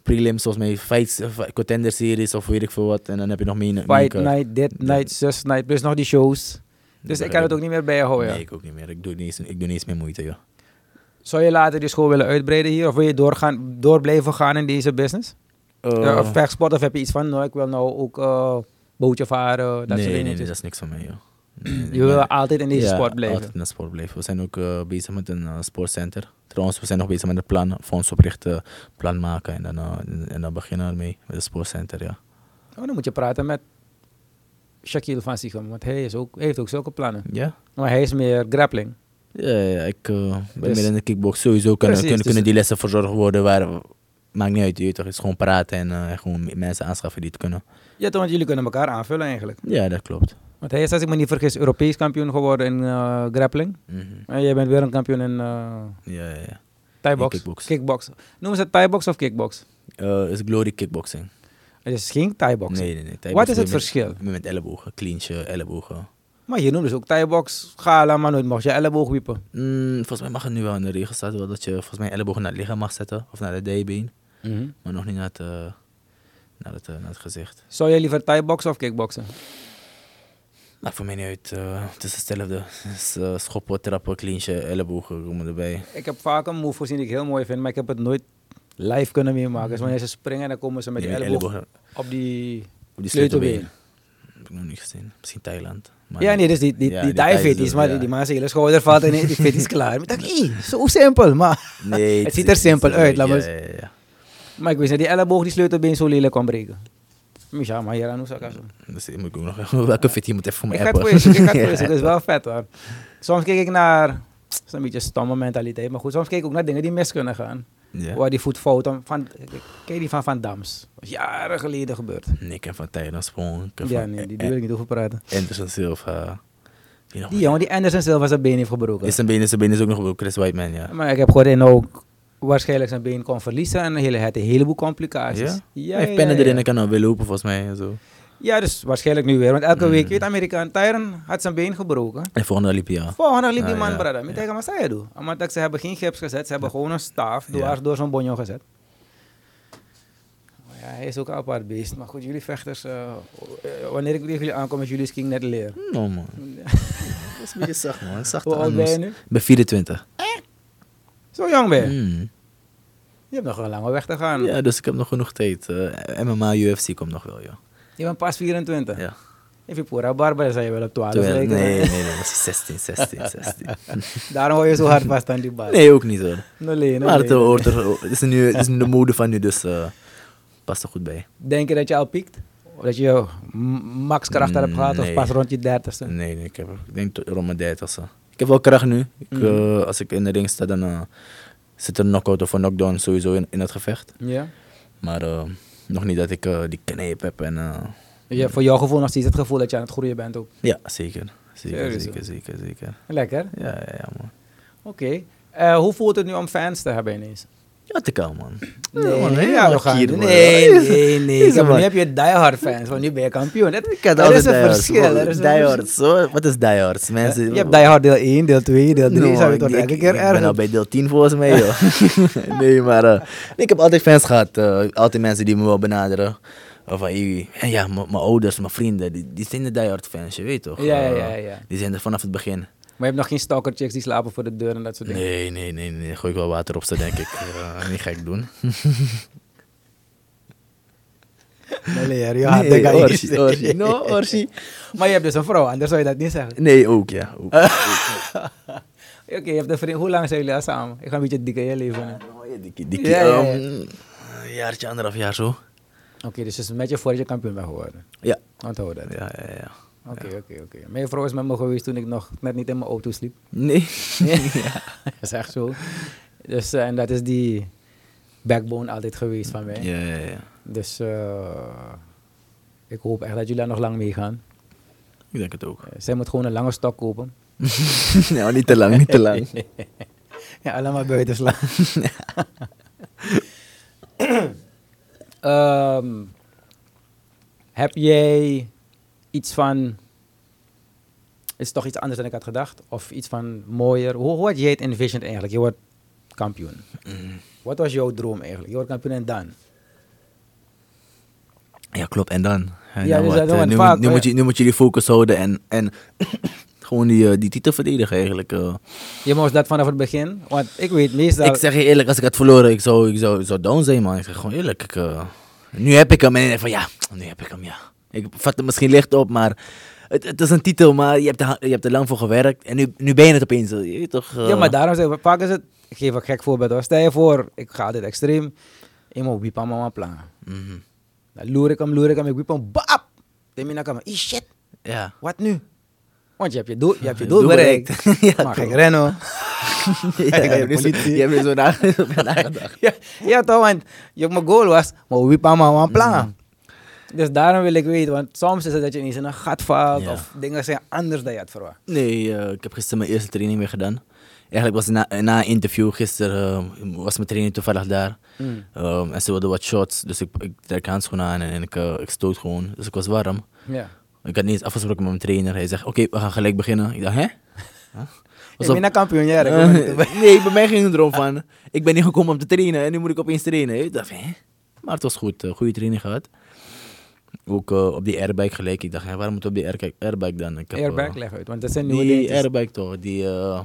C: prelims volgens mij, fights, eh, fi- contender series of weet ik veel wat. En dan heb je nog meer.
A: Fight night, dit
C: Ja.
A: night, zus night, plus nog die shows. Dus ik kan het ook niet meer bijhouden.
C: Nee, ik ook niet meer. Ik doe niet eens, ik doe niet eens meer moeite, joh.
A: Zou je later je school willen uitbreiden hier? Of wil je doorgaan, door blijven gaan in deze business?
C: Eh.
A: Ja, of vechtsport, of heb je iets van, nou, ik wil nou ook eh, bootje varen, dat soort
C: nee, nee,
A: dingen. Dus-
C: nee, dat is niks van mij, joh. Nee,
A: Mm, je wil altijd in deze
C: ja,
A: sport blijven.
C: altijd in de sport blijven. We zijn ook eh, bezig met een eh, sportcenter. Trouwens, we zijn nog bezig met een plan, fonds oprichten, plan maken en dan, eh, en- en dan beginnen we ermee met een sportcenter, ja.
A: Oh, dan moet je praten met Shaquille van Sichem, want hij, is ook, hij heeft ook zulke plannen.
C: Ja?
A: Maar hij is meer grappling.
C: Ja, ja, ik eh, ben
A: Dus-
C: meer in de kickbox. Sowieso kunnen,
A: Precies,
C: kunnen,
A: dus-
C: kunnen die lessen verzorgd worden waar... Maakt niet uit, je weet toch. Het is gewoon praten en eh, gewoon mensen aanschaffen die het kunnen.
A: Ja, toch, want jullie kunnen elkaar aanvullen eigenlijk.
C: Ja, dat klopt.
A: Want hij is, als ik me niet vergis, Europees kampioen geworden in eh, grappling.
C: Mhm.
A: En jij bent weer een kampioen in eh
C: Ja, ja, ja.
A: thai-box.
C: In kickbox.
A: Noemen ze het thai-box of kickbox?
C: Eh, is Glory Kickboxing.
A: Het is geen thai-box.
C: Nee, nee, nee. Thai
A: Wat
C: boxen
A: is het
C: met-
A: verschil?
C: Met, ellebogen, clinchen, ellebogen.
A: Maar je noemt dus ook thai-box, gala, maar nooit mag je elleboog wiepen.
C: Mm, volgens mij mag het nu wel in de regel staan, wel dat je volgens mij ellebogen naar het lichaam mag zetten of naar de dijbeen, maar nog niet naar het, eh, naar het, eh, naar het gezicht.
A: Zou jij liever thai-boxen of kickboxen?
C: Maakt voor mij niet uit, eh, het is hetzelfde. Het is, eh, schoppen, trappen, clinchen, ellebogen komen erbij.
A: Ik heb vaak een move gezien die ik heel mooi vind, maar ik heb het nooit live kunnen meemaken. Dus wanneer ze springen, dan komen ze met die
C: Ja,
A: elleboog op die
C: op
A: sleutelbeen.
C: die sleutelbeen. heb ik nog niet gezien. Misschien Thailand. maar
A: Ja, nee, dus die, die,
C: Ja,
A: die,
C: die
A: Thai
C: Thais
A: fit
C: dus,
A: is, maar
C: ja.
A: die, die Maas hele schouder valt en die fit is klaar. Ik dacht, hé, zo simpel, maar...
C: Nee,
A: Het ziet er simpel uit, laat
C: ja,
A: maar
C: ja, ja, ja.
A: Maar ik wist dat die elleboog die sleutelbeen zo lelijk kon breken. Ja, maar hier aan hoe zou ik dat doen?
C: Dus ik moet ook nog welke fit je moet even voor
A: Ik
C: mijn
A: ga het
C: appen.
A: voor je zoeken, ik ga het voor je zoeken. Dat is wel vet hoor. Soms kijk ik naar... Het is een beetje een stomme mentaliteit, maar goed. Soms kijk ik ook naar dingen die mis kunnen gaan.
C: Ja.
A: Waar die voet fout... aan- Van, kijk die van Van Dams. Dat is jaren geleden gebeurd.
C: Nee, ik heb van Thailand Sprong. Ik heb
A: dus- Ja,
C: van
A: nee, die
C: A-
A: wil ik niet over praten.
C: A- Anderson Silva. Die nog-
A: Die jongen, die Anderson Silva zijn been heeft gebroken.
C: Is zijn been, is zijn been is ook nog wel Chris Whiteman, ja.
A: Maar ik heb gehoord dat hij nou ook waarschijnlijk zijn been kon verliezen en een hele, had een heleboel complicaties.
C: Ja? Hij heeft pennen
A: ja,
C: erin
A: ja.
C: en kan dan weer lopen volgens mij en zo.
A: Ja, dus waarschijnlijk nu weer. Want elke
C: Mm.
A: week, je weet Amerikaan, Tyron had zijn been gebroken.
C: En volgende liep hij aan.
A: Volgende liep die
C: Ah,
A: man,
C: ja,
A: brada.
C: ja.
A: Met tegen wat zei je doen. Omdat ik- ze hebben geen gips gezet, ze hebben gewoon een staaf
C: Ja.
A: dwars door zo'n bonjo gezet. Maar Ja, hij is ook een apart beest. Maar goed, jullie vechters, eh, eh, wanneer ik tegen jullie aankom, is jullie skin net leer.
C: No, man. Dat is een beetje zacht, man. Zacht
A: Hoe oud ben je nu?
C: Ik ben 24.
A: Zo jong ben je.
C: Mm.
A: Je hebt nog een lange weg te gaan.
C: Ja, dus ik heb nog genoeg tijd. Eh, MMA, UFC komt nog wel, joh.
A: Je bent pas 24.
C: Ja.
A: Even pura barbara, zei je wel op 12
C: Terwijl-
A: lijken.
C: nee, nee, nee, dat is 16, 16, 16.
A: Daarom hou je zo hard vast aan die bar.
C: Nee, ook niet hoor.
A: No, nee, no,
C: Maar het
A: nee.
C: hoort er, het is, nu, het is nu de mode van nu, dus eh past er goed bij.
A: Denk je dat je al piekt? Of dat je m- max kracht al hebt gehad of
C: Nee.
A: pas rond je dertigste?
C: Nee, nee ik, heb, ik denk tot rond mijn 30 zo. eh? Ik heb wel kracht nu. Ik,
A: Mhm.
C: eh, als ik in de ring sta, dan eh, zit er een knock-out of een knockdown sowieso in, in het gevecht.
A: Ja?
C: Maar eh, nog niet dat ik eh, die kneep heb. En, eh,
A: Je hebt voor jouw gevoel nog steeds het gevoel dat je aan het groeien bent ook.
C: ja, zeker. Zeker,
A: Serieus,
C: zeker,
A: hoor.
C: zeker, zeker.
A: Lekker.
C: Ja, ja, ja, man.
A: Oké. Eh, hoe voelt het nu om fans te hebben ineens?
C: Ja, te kalm, man.
A: Nee,
C: man,
A: nee,
C: helemaal
A: arrogant.
C: kier, man.
A: nee, nee, nee.
C: Is
A: Kijk,
C: er
A: Nu
C: maar.
A: heb je diehard fans, want nu ben je kampioen. Dat,
C: Ik had
A: er
C: altijd
A: is een
C: diehards.
A: verschil.
C: Wow,
A: Er is een
C: diehards, hoor. Wat is diehards? Mensen,
A: Je hebt diehard deel 1, deel 2, deel 3. zou
C: No,
A: je
C: Nou, ik-
A: toch
C: ik-
A: elke keer
C: Ik ben al
A: ergens...
C: bij deel 10 volgens mij, joh. nee, maar eh, nee, ik heb altijd fans gehad. eh, altijd mensen die me wel benaderen. Of van, "Hey, en ja, m- mijn ouders, mijn vrienden, die, die zijn de diehard fans, je weet toch?
A: Ja, ja,
C: Eh,
A: ja, ja.
C: Die zijn er vanaf het begin.
A: Maar je hebt nog geen stalker chicks die slapen voor de deur en dat soort dingen.
C: Nee, nee, nee, nee. Gooi ik wel water op ze, denk ik. Eh, niet gek doen.
A: Nee, nee, ja, dat
C: nee,
A: kan je niet
C: Orsi,
A: zeggen.
C: Orsi. No, Orsi.
A: Maar je hebt dus een vrouw, anders zou je dat niet zeggen.
C: Nee, ook, ja. Ook.
A: Eh. Oké, je hebt een vriend. Hoe lang zijn jullie al samen? Ik ga een beetje dik in je leven. hè. Oké,
C: Oh, ja, dikkie, dikkie,
A: Ja, ja, ja.
C: ehm, een jaartje, anderhalf jaar zo.
A: dus het is met je voordat je kampioen bent geworden.
C: Ja.
A: Onthoud dat.
C: Ja, ja, ja.
A: Oké, oké, oké. Mijn vrouw is met me geweest toen ik nog net niet in mijn auto sliep.
C: Nee.
A: dat is echt zo. Dus, eh, en dat is die backbone altijd geweest van mij.
C: Ja, ja, ja.
A: Dus eh, ik hoop echt dat jullie daar nog lang mee gaan.
C: Ik denk het ook.
A: Eh, zij moet gewoon een lange stok kopen.
C: nou, niet te lang, niet te lang.
A: Ja, allemaal buiten slaan. Ehm, heb jij iets van. Het is toch iets anders dan ik had gedacht? Of iets van mooier? Hoe, hoe had jij het envisioned eigenlijk? Je wordt kampioen.
C: Mm.
A: Wat was jouw droom eigenlijk? Je wordt kampioen en dan?
C: Ja, klopt. En dan? En
A: Ja,
C: dan
A: dus dat
C: wat?
A: doen we
C: Eh, nu,
A: vaak,
C: moet- nu,
A: hè?
C: moet je, nu moet je die focus houden en, en gewoon die, eh, die titel verdedigen eigenlijk. eh.
A: Je moest dat vanaf het begin? Want ik weet meestal.
C: Ik zeg je eerlijk, als ik had verloren, ik zou, ik zou, ik zou down zijn, man. Ik zeg gewoon eerlijk. Ik, eh, nu heb ik hem en ik denk van ja, nu heb ik hem, ja. Ik vat het misschien licht op, maar het, het is een titel, maar je hebt, er, ha- je hebt er lang voor gewerkt en nu, nu ben je het opeens. eh, Je weet toch, eh.
A: Ja, maar daarom zeg ik, vaak is het, ik geef een gek voorbeeld hoor. Stel je voor, ik ga dit extreem, ik moet wiep aan mama plan.
C: Mhm.
A: Dan loer ik hem, loer ik hem, ik wiep hem, bap! Dan ben ik aan mijn, shit,
C: Ja.
A: wat nu? Want je hebt je doel, je hebt je
C: Je
A: doel
C: doel
A: bereikt.
C: bereikt. Ja,
A: maar
C: klopt.
A: ik rennen hoor.
C: ja, je hebt er zo-
A: politie.
C: je hebt er zo na- over nagedacht.
A: ja, ja toch, want je, mijn goal was, maar wiep aan mama
C: Mhm.
A: plan. Dus daarom wil ik weten, want soms is het dat je ineens in een gat valt
C: Ja.
A: of dingen zijn anders dan je had verwacht.
C: Nee, eh, ik heb gisteren mijn eerste training weer gedaan. Eigenlijk was het na, na een interview gisteren eh, was mijn training toevallig daar. Ehm, en ze wilden wat shots, dus ik, ik trek handschoenen aan en, en ik, eh, ik stoot gewoon. Dus ik was warm.
A: Ja.
C: Ik had niet eens afgesproken met mijn trainer. Hij zegt, oké, we gaan gelijk beginnen. Ik dacht, hè? Huh?
A: Ik ben een kampioen, ja. dat
C: Eh,
A: komt erbij.
C: nee, bij mij ging het erom van, ik ben niet gekomen om te trainen en nu moet ik opeens trainen. Ik dacht, hè? Maar het was goed, eh, goede training gehad. Ook eh, op die airbike gelijk. Ik dacht, hè, waarom moeten we op die air- airbike dan? Ik heb, eh,
A: Airbag, leg uit, want dat zijn nieuwe
C: die
A: dingetjes.
C: airbike toch, die, eh,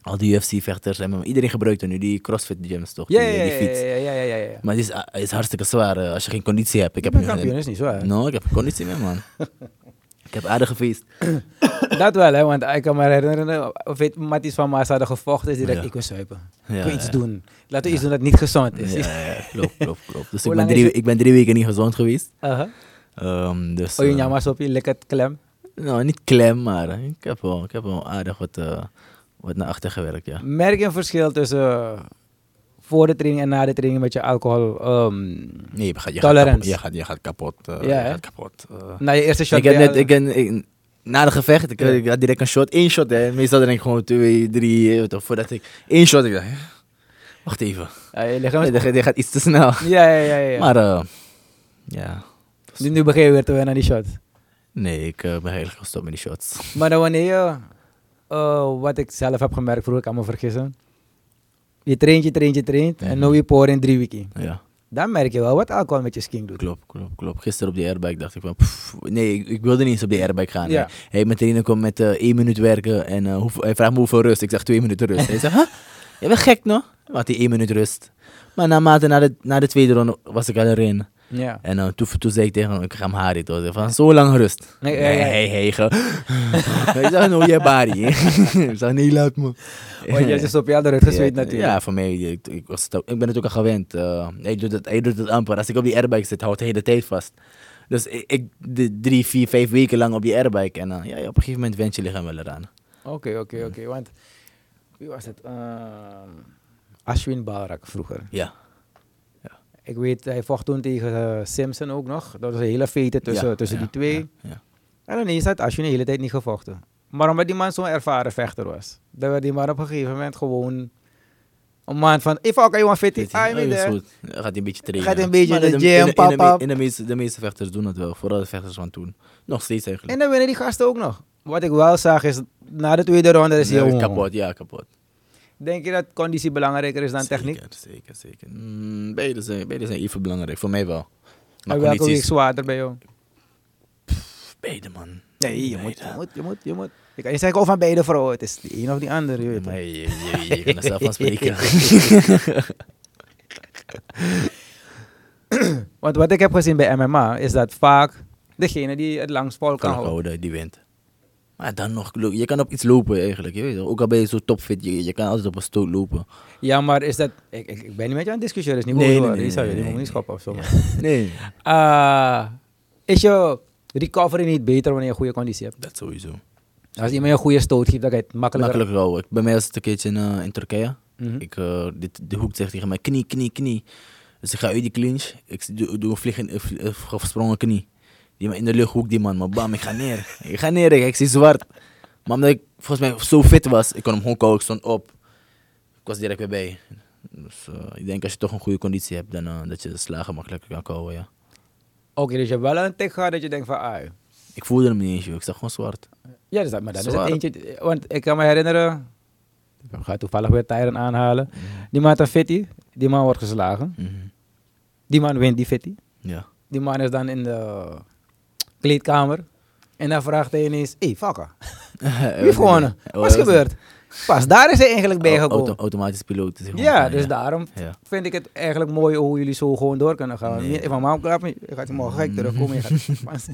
C: al die UFC-vechters, en iedereen gebruikt er nu, die CrossFit gyms toch,
A: Ja,
C: die,
A: ja,
C: die
A: ja,
C: fiets.
A: ja, ja, ja, ja, ja.
C: Maar die is, is hartstikke zwaar eh, als je eh, geen conditie hebt. Ik heb
A: ben
C: nu-
A: kampioen, is niet zwaar.
C: No, ik heb geen conditie meer man. Ik heb aardig gefeest.
A: Dat wel, hè, want ik kan me herinneren, of weet Matties van Maas hadden gevochten, is direct,
C: Ja.
A: ik wil zuipen.
C: Ja,
A: ik wil iets
C: ja.
A: doen. Laten we iets doen dat niet gezond is.
C: Ja, ja, klopt, klopt, klopt. Dus
A: Hoe
C: ik ben,
A: lang is
C: drie,
A: het?
C: ik ben drie weken niet gezond geweest.
A: Aha.
C: Ehm dus,
A: Oh, je
C: eh,
A: nyamas op je, lekker het klem.
C: nou, niet klem, maar eh, ik heb wel, ik heb wel aardig wat, eh, wat naar achter gewerkt, ja.
A: Merk je een verschil tussen eh, voor de training en na de training met je alcohol? ehm,
C: Nee, je gaat, je Gaat kapot,
A: Tolerance.
C: je, gaat, je gaat kapot. eh,
A: Ja,
C: je
A: hè?
C: gaat kapot. eh.
A: na je eerste shot?
C: ik heb
A: ben je
C: net,
A: al-
C: ik, ben- ik- na de gevecht, ik, ik had direct een shot, één shot. Hè. Meestal denk ik gewoon twee, drie, eh, toch, voordat ik... één shot, ik dacht, hè, wacht even.
A: Ja, je lichaam is-
C: Nee, dit gaat- dit gaat iets te snel.
A: Ja, ja, ja. ja, ja.
C: Maar, eh, ja.
A: nu, nu begin je weer te wennen aan die shot.
C: Nee, ik eh, ben heel erg gestopt met die shots.
A: Maar dan wanneer je, eh, wat ik zelf heb gemerkt, vroeger kan me vergissen. Je traint, je traint, je traint. En nu je poort in drie weken.
C: Mhm. Ja.
A: Dan merk je wel wat alcohol met je skin doet.
C: Klopt, klopt, klopt. Gisteren op die airbike dacht ik van, pff, nee, ik, ik wilde niet eens op die airbike gaan.
A: Ja.
C: hè. Hey, mijn trainer komt met eh, één minuut werken en eh, hoeveel- hij vraagt me hoeveel rust. Ik zeg twee minuten rust. Hij zegt, huh? Je bent gek, no? Wat die één minuut rust. Maar naarmate na de, na de tweede ronde was ik al erin.
A: Ja.
C: En eh, toen, toen zei ik tegen hem, ik ga hem haren. Toen zei hij van, zo lang rust.
A: Nee, eh,
C: Nee,
A: ja, ja.
C: hey, hey, ge- Ik zeg, no, je bari. Ik zeg, nee, laat me.
A: Want jij is op je andere gezweet
C: Ja,
A: natuurlijk.
C: Ja, voor mij. Ik, ik, was het ook- ik ben het ook al gewend. eh, hij, doet het, hij doet het amper. Als ik op die airbike zit, houdt hij de tijd vast. Dus ik, ik de drie, vier, vijf weken lang op die airbike. En eh, ja, ja, op een gegeven moment went je lichaam wel eraan.
A: Oké, oké, oké. Want wie was het? Ehm, Ashwin Balrak vroeger.
C: Ja.
A: Ik weet, hij vocht toen tegen eh, Simpson ook nog. Dat was een hele vete tussen,
C: Ja,
A: tussen
C: ja,
A: die twee.
C: Ja, ja.
A: En ineens had Ashwin de hele tijd niet gevochten. Maar omdat die man zo'n ervaren vechter was, dat werd die man op een gegeven moment gewoon een man van: If oké, jongen, fit, I'm
C: Weet je, oh,
A: in
C: dat is
A: there."
C: goed. Hij Gaat een beetje trainen.
A: Gaat een beetje
C: Maar
A: de
C: in
A: gym,
C: in de- in de-
A: pop-up.
C: in de meeste- De meeste vechters doen dat wel. Vooral de vechters van toen. Nog steeds eigenlijk.
A: En dan winnen die gasten ook nog. Wat ik wel zag is, na de tweede ronde is hij
C: Ja,
A: gewoon-
C: Nou, kapot, ja, kapot.
A: Denk je dat conditie belangrijker is dan techniek?
C: Zeker, zeker, zeker. Mm, beide, zijn, beide zijn even belangrijk. Voor mij wel.
A: Maar welke
C: conditie
A: week
C: is-
A: zwaarder bij jou?
C: Beide, man.
A: Nee, je moet, je
C: Beide.
A: moet, je moet, je moet. Je kan niet zeggen, oh van beide vrouwen, het is de een of die andere. Je weet het.
C: Maar je, je, je, je kan er zelf van spreken.
A: Want wat ik heb gezien bij MMA, is dat vaak degene die het langst vol kan
C: kan
A: houden.
C: houden, die wint. Maar dan nog, lo- je kan op iets lopen eigenlijk. Je weet toch? ook al ben je zo topfit, je, je kan altijd op een stoot lopen.
A: Ja, maar is dat... Ik, ik, ik ben niet met je aan het discussiëren, is niet
C: Nee,
A: boos
C: nee,
A: worden.
C: nee,
A: Die zou je
C: nee,
A: die moet
C: nee,
A: niet schoppen of zo.
C: Nee.
A: Ah, is je recovery niet beter wanneer je goede conditie hebt?
C: Dat sowieso.
A: Als iemand je een goede stoot geeft, dan kan je het makkelijker...
C: Makkelijk houden. Ik- Bij mij was het een keertje in, eh, in Turkije.
A: Mhm.
C: Ik, eh, dit, de hoek zegt tegen mij, knie, knie, knie. Dus ik ga uit die clinch. Ik doe, doe een vliegende, een vlie- een gesprongen knie. Die man in de lucht hoek die man. Maar bam, ik ga neer. Ik ga neer, ik, ik zie zwart. Maar omdat ik volgens mij zo fit was, ik kon hem gewoon kouden. Ik stond op. Ik was direct weer bij. Dus eh, ik denk als je toch een goede conditie hebt, dan eh, dat je de slagen makkelijker kan kouden, ja.
A: Oké, dus je hebt wel een tik gehad dat je denkt van, ah...
C: Ik voelde hem niet eens, joh. ik zag gewoon zwart.
A: Ja, dus dat, maar dat is
C: Zwaar.
A: het eentje. Want ik kan me herinneren, ik ga toevallig weer Tyron aanhalen. Die man had een fitty, die man wordt geslagen.
C: Mhm.
A: Die man wint die fitty.
C: Ja.
A: Die man is dan in de kleedkamer. En dan vraagt hij ineens, hé, hey, fucker, wie heeft gewonnen?
C: Oh,
A: Eh, Wat is Oh,
C: dat was-
A: gebeurd? Pas daar is hij eigenlijk bij
C: Auto-
A: gekomen.
C: automatisch piloot. is gewoon
A: Ja,
C: fijn,
A: dus daarom
C: Ja.
A: vind ik het eigenlijk mooi hoe jullie zo gewoon door kunnen gaan.
C: Nee.
A: Van maam klap, je gaat morgen gek terugkomen. Je gaat...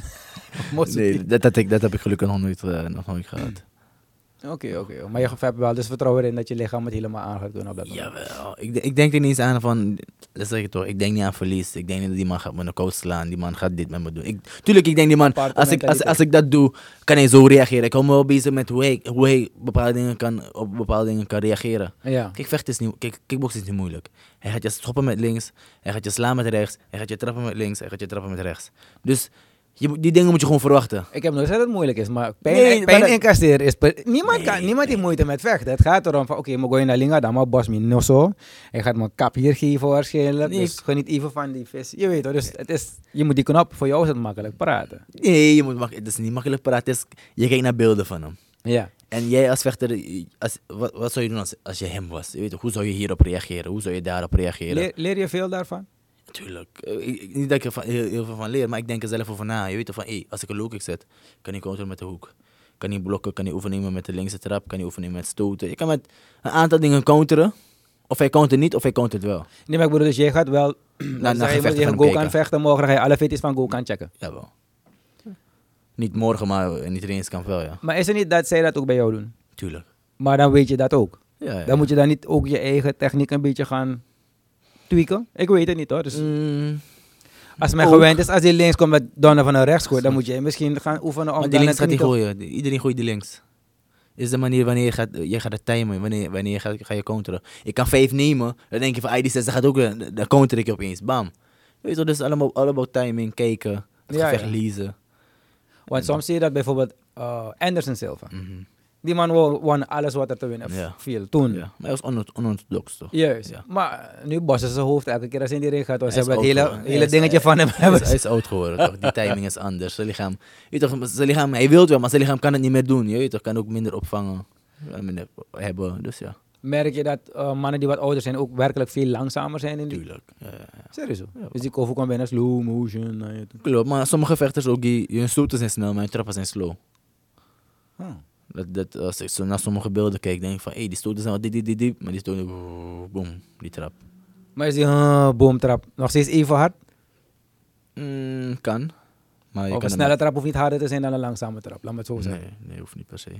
A: Moest-
C: Nee, dat, dat, ik, dat heb ik gelukkig nog nooit, eh, nog nooit gehad.
A: Oké, oké. Maar je hebt wel dus vertrouwen erin dat je lichaam het helemaal aan gaat doen op dat moment.
C: Jawel. Ik, de- ik denk er niet eens aan van... Dat zeg ik toch. Ik denk niet aan verlies. Ik denk niet dat die man gaat me een koud slaan. Die man gaat dit met me doen. Ik, tuurlijk, ik denk die man...
A: Aparte
C: Als ik, als,
A: mentaliteit.
C: als ik dat doe, kan hij zo reageren. Ik hou me wel bezig met hoe hij, hoe hij bepaalde dingen kan, op bepaalde dingen kan reageren.
A: Ja.
C: Kijk, vechten is niet, kijk, kickboksen is niet moeilijk. Hij gaat je schoppen met links, hij gaat je slaan met rechts, hij gaat je trappen met links, hij gaat je trappen met rechts. Dus je, moet- die dingen moet je gewoon verwachten.
A: Ik heb nooit gezegd dat het moeilijk is, maar pijn,
C: Nee,
A: pijn
C: maar dat-
A: incasseren is... per- Niemand, kan,
C: Nee,
A: niemand heeft moeite met vechten. Het gaat erom van, oké, maar gooi naar Linga, dan maar bos me no zo. Hij gaat mijn kap hier geven waarschijnlijk.
C: Nee,
A: Dus
C: ik-
A: geniet even van die vis. Je weet toch, dus het is, je moet die knop, voor jou is het makkelijk praten.
C: Nee, je moet mak- het is niet makkelijk praten. het is- je kijkt naar beelden van hem.
A: Ja.
C: En jij als vechter, als, wat, wat zou je doen als, als je hem was? Je weet, toch, hoe zou je hierop reageren? Hoe zou je daarop reageren?
A: Leer, leer je veel daarvan?
C: Tuurlijk. Eh, ik- ik- niet dat ik er van- heel, heel veel van leer, maar ik denk er zelf over na. Je weet toch van, hé, als ik een low kick zet, kan hij counteren met de hoek. Kan hij blokken, kan hij oefenen met de linkse trap, kan hij oefenen met stoten. Je kan met een aantal dingen counteren. Of hij countert niet, of hij countert wel.
A: Nee, maar ik bedoel, dus jij gaat wel...
C: naar
A: dus je
C: gevechten
A: moet tegen
C: gaan
A: Gokan
C: kijken.
A: vechten, morgen ga je alle fitties van Gokan checken.
C: Jawel. Niet morgen, maar eh, niet eens kan wel, ja.
A: Maar is het niet dat zij dat ook bij jou doen?
C: Tuurlijk.
A: Maar dan weet je dat ook.
C: Ja, ja.
A: Dan moet je dan niet ook je eigen techniek een beetje gaan tweaken. Ik weet het niet hoor. Dus
C: Mm,
A: als men
C: ook.
A: gewend is, als die links komt met Donner van een rechts gooit, dan moet je misschien gaan oefenen om
C: maar die
A: dan
C: links
A: het
C: gaat hij
A: niet op-
C: gooien. Die- Iedereen gooit die links. Is de manier wanneer je gaat, je gaat het timen, wanneer, wanneer je gaat, ga je counteren. Ik kan vijf nemen, dan denk je van, ah, die zesde gaat ook, weer." dan counter ik je opeens, bam. Weet je wel, dus allemaal, allemaal timing, kijken, het
A: Ja,
C: gevecht
A: ja.
C: lezen.
A: Want soms zie je dat bijvoorbeeld eh, Anderson Silva.
C: Mhm.
A: Die man won, won alles wat er te winnen
C: Ja.
A: viel toen.
C: Ja. Maar hij was ono- onorthodox, toch?
A: Juist.
C: Ja.
A: Maar nu bossen ze zijn hoofd elke keer als hij in die ring gaat. Want ze
C: Hij is
A: hebben het
C: oud
A: hele,
C: geworden. Hij
A: hele
C: is-
A: dingetje van hem
C: Hij
A: hebben.
C: is, hij is oud geworden, toch? Die timing is anders. Zijn lichaam, je weet toch, zijn lichaam, hij wil wel, maar zijn lichaam kan het niet meer doen. Je weet toch, kan ook minder opvangen, eh, minder hebben. Dus ja,
A: Merk je dat eh, mannen die wat ouder zijn ook werkelijk veel langzamer zijn in die...
C: tuurlijk. Ja, ja, ja.
A: Serieus hoor. Dus die koffie kwam bijna slow motion. nou ja, toen-
C: Klopt, maar sommige vechters ook, die, hun stoten zijn snel, maar hun trappen zijn slow. Oh. Dat, dat, als ik zo naar sommige beelden kijk, denk ik van, hé, hey, die nou stoten zijn wel diep, diep, diep, diep, maar die stoten, boom, die trap.
A: Maar is die eh, boomtrap nog steeds even hard?
C: Mm, kan, maar
A: Of
C: je kan
A: een
C: hem-
A: snelle trap hoeft niet harder te zijn dan een langzame trap. Laat me het zo zeggen.
C: Nee, nee, hoeft niet per se.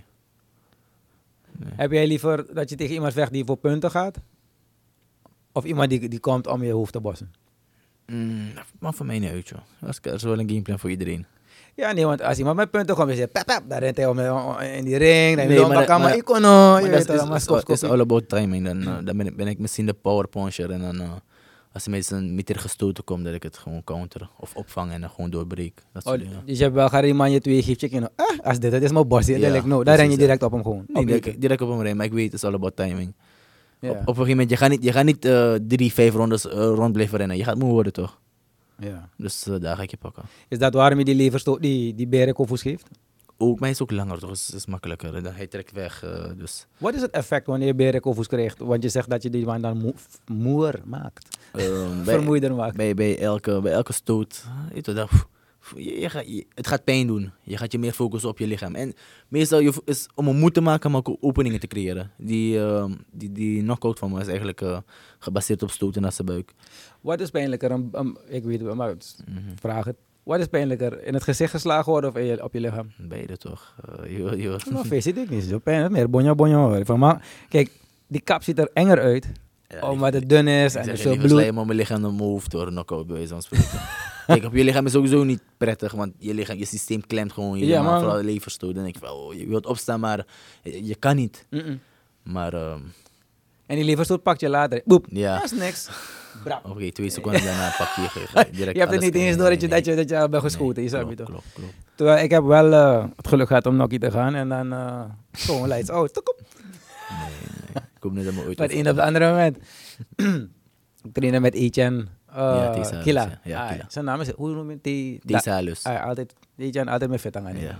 A: Heb jij liever dat je tegen iemand vecht die voor punten gaat? Of iemand die, die komt om je hoofd te bossen?
C: Mm, maar voor mij niet uit, joh. Dat is- Dat is wel een gameplan voor iedereen.
A: Ja, nee, want als iemand met punten komt, dan zeg je pep, pep, dan rent hij om, eh, om- in die ring. Dan
C: Nee,
A: wil
C: maar
A: hij
C: dat-
A: maar
C: maar-
A: ik kon nog.
C: Maar
A: Je
C: dat
A: weet
C: is,
A: wel,
C: is,
A: allemaal
C: is,
A: skop, skop,
C: all about timing. Dan,
A: Mm.
C: eh, dan ben, ik, ben ik misschien de power puncher. En dan, eh, als er met een meter gestoten komt, dat ik het gewoon counter of opvang en dan gewoon doorbreek. Dat soort
A: Oh,
C: dingen.
A: dus je hebt wel geen man je twee geeft je kind. Ah, als dit, dat is mijn boss. hier,
C: Ja,
A: dan denk ik, nou, daar ren je
C: precies, ja.
A: direct op hem gewoon.
C: Nee,
A: Op je kind.
C: direct, direct op hem rijden, maar ik weet, het is all about timing.
A: Ja.
C: Op, op een gegeven moment, je gaat niet, je gaat niet eh, drie, vijf rondes eh, rond blijven rennen. Je gaat moe worden, toch?
A: Ja.
C: Dus eh, daar ga ik je pakken.
A: Is dat waarom je die leverstoot, die, die berenkoffers geeft?
C: Ook, mij is ook langer, toch? Het is, is makkelijker. Dan, hij trekt weg, eh, dus...
A: Wat is het effect wanneer je berenkoffers krijgt? Want je zegt dat je die man dan moe- moer maakt.
C: ehm, bij-
A: Vermoeider maakt.
C: bij, bij, elke, bij elke stoot. Je, weet wel, dat- pff, pff, je, je gaat- je- het gaat pijn doen. Je gaat je meer focussen op je lichaam. En meestal je, is om een moed te maken, maar ook o- openingen te creëren. Die, ehm, die, die knockout van me is eigenlijk eh, gebaseerd op stoten naar zijn buik.
A: Wat is pijnlijker? Een, een- ik weet het wel, maar het is-
C: Mhm.
A: vraag het. Wat is pijnlijker? In het gezicht geslagen worden of in je- op je lichaam?
C: Beide toch? Eh, je, je,
A: Nou, feest zit ik niet zo pijn. Meer bonja bonja hoor. Van, maar, kijk, die kap ziet er enger uit.
C: Ja,
A: omdat het dun is en
C: ik
A: er
C: zeg
A: dus veel
C: je liever sla
A: bloed.
C: je maar mijn lichaam dan move door een knockout bij wijze van spreken. Kijk, op je lichaam is sowieso niet prettig, want je, lichaam, je systeem klemt gewoon. Je
A: Ja,
C: lichaam,
A: maar-
C: vooral de leverstoot. Dan denk ik van, oh, je wilt opstaan, maar je, je kan niet.
A: Mm-mm.
C: Maar ehm,
A: En die leverstoot pakt je later. Boep.
C: Ja.
A: Dat is niks. Brap.
C: Oké, twee seconden daarna pak je je ga direct
A: Je hebt het
C: alles
A: niet eens
C: kunnen-
A: door dat je,
C: nee,
A: dat je,
C: nee.
A: dat je al bent geschoten. je
C: Nee,
A: snapt je
C: klopt,
A: toch?
C: Klopt, klopt.
A: Terwijl ik heb wel eh, het geluk gehad om Nokkie te gaan. En dan eh gewoon lights out. Tuk op.
C: Ik hoop niet dat me ooit...
A: Van het een op het andere moment. ik trainde met Etienne. eh
C: Ja, Tisa,
A: Kila.
C: ja, ja,
A: Ah,
C: Kila.
A: Zijn naam is, hoe noem je die? Da-
C: Desalus.
A: Ah, altijd, Etienne altijd met vet aan gaan.
C: Ja,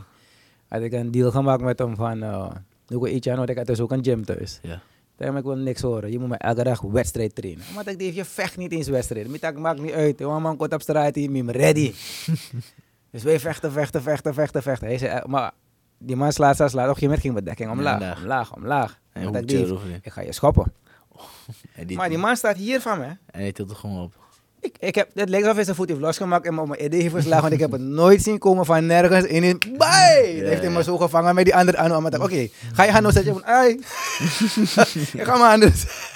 A: Had ik een deal gemaakt met hem van, eh doe ik Etienne, want ik had dus ook een gym thuis.
C: ja.
A: Daarom ik wil niks horen. Je moet me elke dag wedstrijd trainen. Maar ik dacht, je vecht niet eens wedstrijd. Met dat maakt niet uit. Jongen, man komt op straat hier, mim ready. dus wij vechten, vechten, vechten, vechten, vechten. Hij zei, eh, maar die man slaat, slaat, slaat. Op een gegeven moment ging mijn dekking omlaag,
C: Ja,
A: omlaag,
C: omlaag.
A: omlaag.
C: En
A: Omdat ik
C: hoekje
A: dacht,
C: eroverheen.
A: ik ga je schoppen.
C: En die,
A: Maar die man staat hier van me.
C: en hij tilt er gewoon op.
A: Ik, ik heb, het lijkt alsof hij zijn voet heeft losgemaakt en me op mijn idee heeft geslagen. Want ik heb het nooit zien komen van nergens. En in, bye! Dan heeft hij me zo gevangen met die andere aan. Maar ik dacht, oké, ga je gaan nou zetten? Van, ai. ik ga maar anders.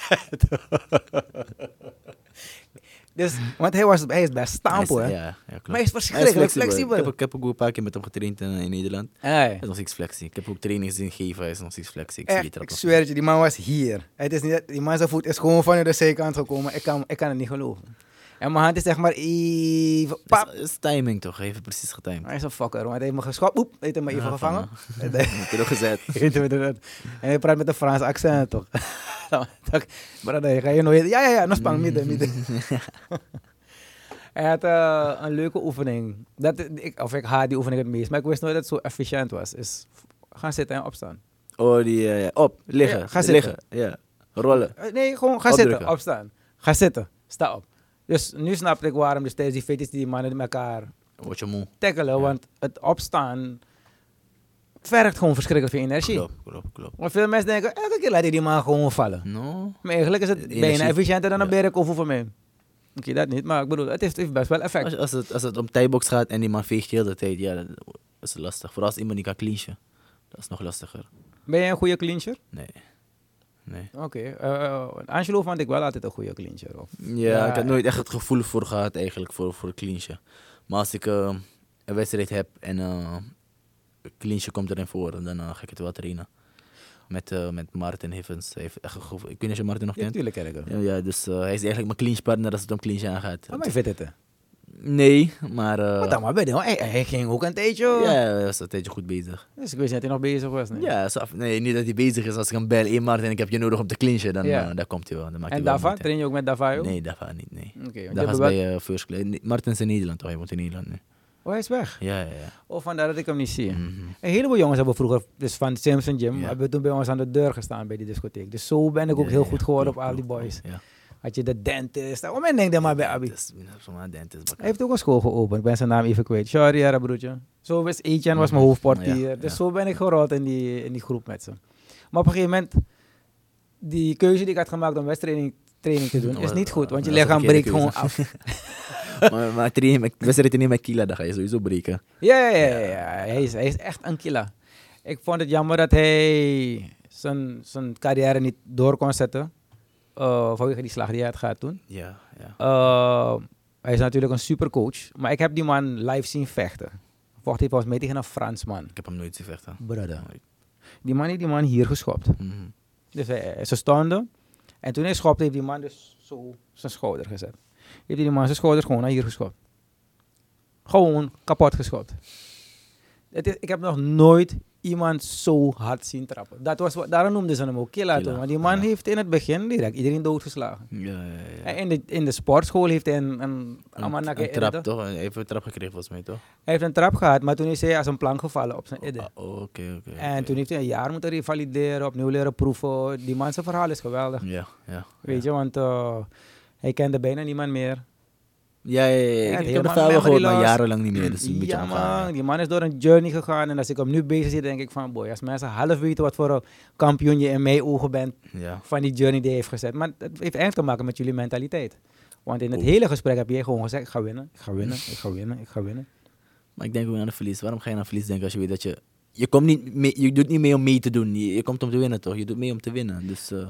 A: dus, want hij, was, hij is best stampo,
C: Hij
A: hè?
C: is- Ja, ja, klopt.
A: Maar hij is verschrikkelijk flexibel.
C: Ik heb, ik heb ook een paar keer met hem getraind in, in Nederland.
A: Ai.
C: Hij is nog steeds flexie. Ik heb ook trainingen zien geven, hij is nog steeds flexie. Ik zie die
A: Echt,
C: trap
A: ik
C: nog
A: zweer het je, die man was hier. Het is niet, dat- die man zijn voet is gewoon van de zijkant gekomen. Ik kan, ik kan het niet geloven. En mijn hand is zeg maar even...
C: steeds.
A: Pap,
C: Dat is, dat is timing toch? Hij heeft het precies getimed.
A: Hij is een fucker, want hij heeft me geschopt. Oep, heeft hij me even
C: Ja,
A: gevangen.
C: Teruggezet.
A: Heeft hij me eruit. en hij praat met een Frans accent, toch? Nou, toch, Brother, ga je nooit... Ja, ja, ja, nog spang, midden, midden. Hij had eh, een leuke oefening. Dat, ik, of ik haat die oefening het meest, maar ik wist nooit dat het zo efficiënt was. Is gaan zitten en opstaan.
C: Oh, die... eh, op, liggen.
A: Ja, ga zitten.
C: liggen. Ja. Rollen.
A: Eh, Nee, gewoon ga
C: Opdrukken.
A: zitten, opstaan. Ga zitten, sta op. Dus nu snap ik waarom dus tijdens die fetus die mannen met elkaar
C: Word je moe.
A: tackelen, want het opstaan vergt gewoon verschrikkelijk veel energie.
C: Klopt, klopt, klopt.
A: Maar veel mensen denken, elke keer laat hij die man gewoon vallen.
C: No.
A: Maar eigenlijk is het
C: Energie-
A: bijna efficiënter dan een
C: Ja.
A: berenkoffel voor mij. Oké, dat niet, maar ik bedoel, het heeft, heeft best wel effect.
C: Als, als, het, als het om tijdbox gaat en die man veegt heel de tijd, ja, dat- is lastig. Vooral als iemand niet kan clinchen. Dat is nog lastiger.
A: Ben jij een goede clincher?
C: Nee. Nee.
A: Oké. eh, Angelo vond ik wel altijd een goede clincher. Of?
C: Ja, ik had nooit echt het gevoel voor gehad eigenlijk, voor, voor clinchen. Maar als ik eh, een wedstrijd heb en eh clinchen komt erin voor, dan eh, ga ik het wel trainen. Met, eh, met Martin Hivens. Hij heeft echt een goed- Ik weet niet of je Martin nog
A: Ja,
C: kent.
A: natuurlijk ken ik hem.
C: Ja, ja, dus eh, hij is eigenlijk mijn clinchpartner als het om clinchen aangaat.
A: Maar mij vindt het. hè.
C: Nee, maar... eh,
A: Wat dan Oh, maar bij de- hij, hij ging ook een tijdje.
C: ja, hij was een tijdje goed bezig.
A: Dus ik wist niet dat hij nog bezig was. Nee.
C: Ja, zo af- nee, niet dat hij bezig is. Als ik hem bel, hey Martin, ik heb je nodig om te clinchen, dan
A: Ja.
C: eh, daar komt hij wel. Dan maakt
A: En
C: hij wel
A: Dava,
C: moeite.
A: train je ook met Dava ook?
C: Nee, daarvan niet, nee.
A: Oké, want die
C: Daar
A: hebben
C: was
A: wel-
C: bij eh, First Class. Nee, Martin is in Nederland toch? Hij woont in Nederland nu.
A: Oh, hij is weg.
C: Ja, ja, ja.
A: Oh, vandaar dat ik hem niet zie.
C: Mhm.
A: Een heleboel jongens hebben vroeger, dus van Simpson Gym,
C: Ja.
A: hebben toen bij ons aan de deur gestaan bij die discotheek. Dus zo ben ik ook
C: Ja,
A: heel
C: ja,
A: goed geworden op
C: klopt,
A: al die
C: klopt,
A: boys.
C: klopt, Ja.
A: Had je de dentist. Oh, men denkt dan maar bij Abi.
C: Dus, ja, zomaar dentist, bakker.
A: Hij heeft ook een school geopend. Ik ben zijn naam even kwijt. Sorry, Jara, broertje. Zo was Etienne was mijn hoofdportier.
C: Ja, ja.
A: Dus zo ben ik gerold in die, in die groep met ze. Maar op een gegeven moment, die keuze die ik had gemaakt om wedstrijdtraining training te doen, is niet goed. Want je
C: Oh, Dat is een
A: lichaam breekt
C: verkeerde
A: gewoon
C: keuze.
A: af.
C: maar maar trainen met- wedstrijd in met Kila, dan ga je sowieso breken.
A: Ja, ja, ja. ja, ja. Hij, is, hij is echt een killer. Ik vond het jammer dat hij zijn, zijn carrière niet door kon zetten. eh, vanwege die slag die hij had gehad toen.
C: Ja, ja.
A: Eh, hij is natuurlijk een supercoach. Maar ik heb die man live zien vechten. Vocht hij volgens mij tegen een Fransman.
C: Ik heb hem nooit zien vechten.
A: Brother. Die man heeft die man hier geschopt.
C: Mhm.
A: Dus hij, ze stonden. En toen hij schopte, heeft die man dus zo zijn schouder gezet. Heeft die man zijn schouder gewoon naar hier geschopt. Gewoon kapot geschopt. Het is, ik heb nog nooit iemand zo hard zien trappen. Dat was, wat- daarom noemden ze hem ook killer toen.
C: Killer,
A: Want die man
C: ja.
A: heeft in het begin direct iedereen doodgeslagen.
C: Ja, ja, ja.
A: En in de, in de sportschool heeft hij een, een,
C: Een-
A: amanak-
C: een trap toch? Hij heeft een trap gekregen volgens mij toch?
A: Hij heeft een trap gehad, maar toen is hij als een plank gevallen op zijn idde.
C: Ah, oh, Oké, oké.
A: En
C: oké.
A: toen heeft hij een jaar moeten revalideren, opnieuw leren proeven. Die man zijn verhaal is geweldig.
C: Ja, ja.
A: Weet je, want eh, hij kende bijna niemand meer.
C: Ja, ja, ja.
A: het
C: Ik, ik
A: helemaal
C: heb het verhaal wel
A: memory
C: gehoord, maar
A: loss.
C: jarenlang niet meer. Dus een beetje
A: ja,
C: ongaan,
A: man, die man is door een journey gegaan. En als ik hem nu bezig zie, denk ik van, boy, als mensen half weten wat voor een kampioen je in mijn ogen bent
C: Ja.
A: van die journey die hij heeft gezet. Maar het heeft echt te maken met jullie mentaliteit. Want in het
C: Oeh.
A: hele gesprek heb jij gewoon gezegd, ik ga winnen, ik ga winnen, ik ga winnen, ik ga winnen.
C: Maar ik denk ook aan de verlies. Waarom ga je aan verlies denken als je weet dat je... Je, komt niet mee, je doet niet mee om mee te doen. Je, je komt om te winnen, toch? Je doet mee om te winnen. Dus eh,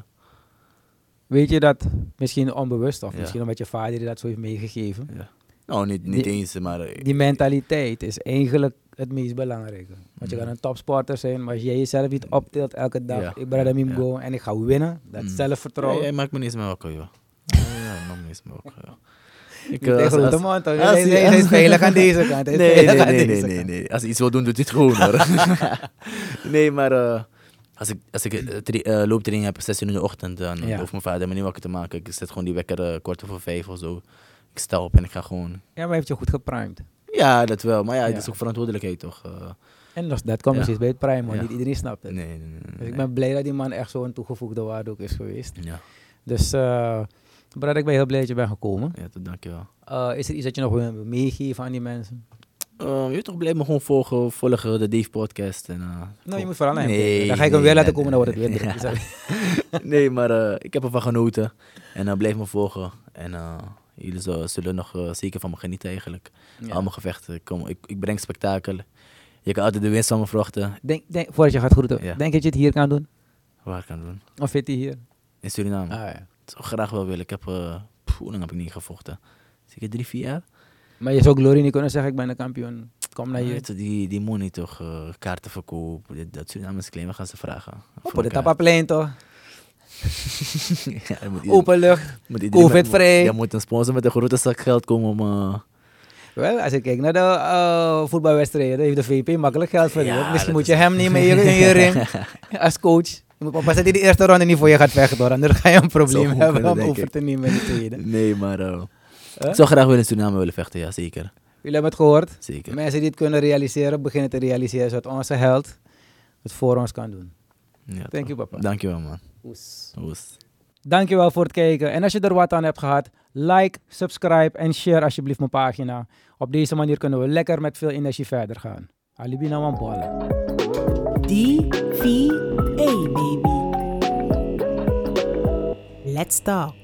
A: Weet je dat, misschien onbewust of
C: Ja.
A: misschien omdat je vader je dat zo heeft meegegeven.
C: ja. Nou, niet, niet
A: Die-
C: eens, maar... eh,
A: Die mentaliteit is eigenlijk het meest belangrijke. Want je
C: Mhm.
A: kan een topsporter zijn, maar als jij jezelf niet optilt elke dag,
C: Ja,
A: ik brada
C: ja,
A: hem
C: ja.
A: go en ik ga winnen, dat
C: Mm.
A: zelfvertrouwen.
C: Ja, jij maakt me niet eens meer wakker, joh. Ja, ja, maakt me niet eens meer wakker, joh. Ik, eh,
A: Tegen
C: als-
A: Grote
C: als-
A: Mond, hoor.
C: als-
A: Hij- hij- hij is veilig aan deze kant, hij
C: Nee,
A: is
C: nee,
A: veilig
C: nee,
A: aan
C: nee,
A: deze
C: nee,
A: kant.
C: nee. Als hij iets wil doen, doet hij het gewoon, hoor. nee, maar eh, als ik, als ik eh, tri- eh, looptraining heb, 16 uur in de ochtend, dan
A: Ja.
C: hoeft mijn vader me niet wakker te maken. Ik zet gewoon die wekker eh, kwart over vijf of zo. Ik sta op en ik ga gewoon...
A: Ja, maar hij heeft je goed geprimed.
C: Ja, dat wel. Maar ja, het
A: Ja.
C: is ook verantwoordelijkheid, toch? Eh,
A: En dat, dat komt
C: Ja.
A: precies bij het primen, want
C: Ja.
A: niet iedereen snapt het.
C: nee, nee, nee.
A: Dus ik
C: nee.
A: ben blij dat die man echt zo'n toegevoegde waarde ook is geweest.
C: Ja,
A: Dus eh brada, ik ben heel blij dat je bent gekomen.
C: ja dat dank je wel.
A: Eh, is er iets dat je nog wil meegeven aan die mensen?
C: Eh, je weet toch, blijf me gewoon volgen, volgen de Dave Podcast. En, eh,
A: Nou, je
C: kom-
A: moet vooral naar hem
C: Nee,
A: kijken. Dan ga ik hem
C: nee,
A: weer laten
C: nee,
A: komen, dan wordt het
C: nee,
A: weer
C: nee.
A: drie. Sorry.
C: nee, maar eh, ik heb ervan genoten. En eh, blijf me volgen. En eh, jullie zo- zullen nog eh, zeker van me genieten eigenlijk.
A: Ja.
C: Al mijn gevechten. Ik, kom, ik, ik breng spektakel. Je kan altijd de winst van me verwachten.
A: Denk, denk, voordat je gaat groeten,
C: Ja.
A: denk dat je het hier kan doen?
C: Waar kan ik doen?
A: Of vindt hij hier?
C: In Suriname.
A: ja.
C: Zo graag wel willen. Ik heb... eh, pff, hoe lang heb ik niet gevochten? Zeker drie, vier jaar?
A: Maar je zou Glory niet kunnen zeggen, ik ben een kampioen. Kom naar
C: Maar je
A: hier.
C: weet Die, die money toch, eh, kaartenverkoop, dit, dat Surinamers claimen gaan ze vragen.
A: Op
C: Voor
A: de
C: elkaar.
A: tapaplein toch?
C: Ja, er moet ieder-
A: Openlucht.
C: moet iedereen met-
A: Covid-vrij.
C: Ja, moet een sponsor met een grote zak geld komen om... eh,
A: Wel, als ik kijk naar de eh, voetbalwedstrijden, heeft de VP makkelijk geld verdiend.
C: Ja,
A: Misschien
C: dat
A: moet je
C: is-
A: hem nemen in je, in je ring als coach. Je moet oppassen dat hij de eerste ronde niet voor je gaat vechten, hoor. anders ga je een probleem
C: goed
A: hebben
C: kunnen,
A: om
C: denk
A: over
C: ik.
A: te nemen in de tweede.
C: Nee, maar... eh,
A: Huh?
C: Ik zou graag willen in Suriname willen vechten, ja, zeker.
A: Jullie hebben het gehoord.
C: zeker.
A: Mensen die het kunnen realiseren, beginnen te realiseren zodat onze held het voor ons kan doen.
C: Ja,
A: Thank you,
C: toch.
A: papa.
C: Dankjewel, man.
A: Oes.
C: Oes.
A: Dankjewel voor het kijken. En als je er wat aan hebt gehad, like, subscribe en share alsjeblieft mijn pagina. Op deze manier kunnen we lekker met veel energie verder gaan. Alibi na Wampala.
B: DVA, baby. Let's talk.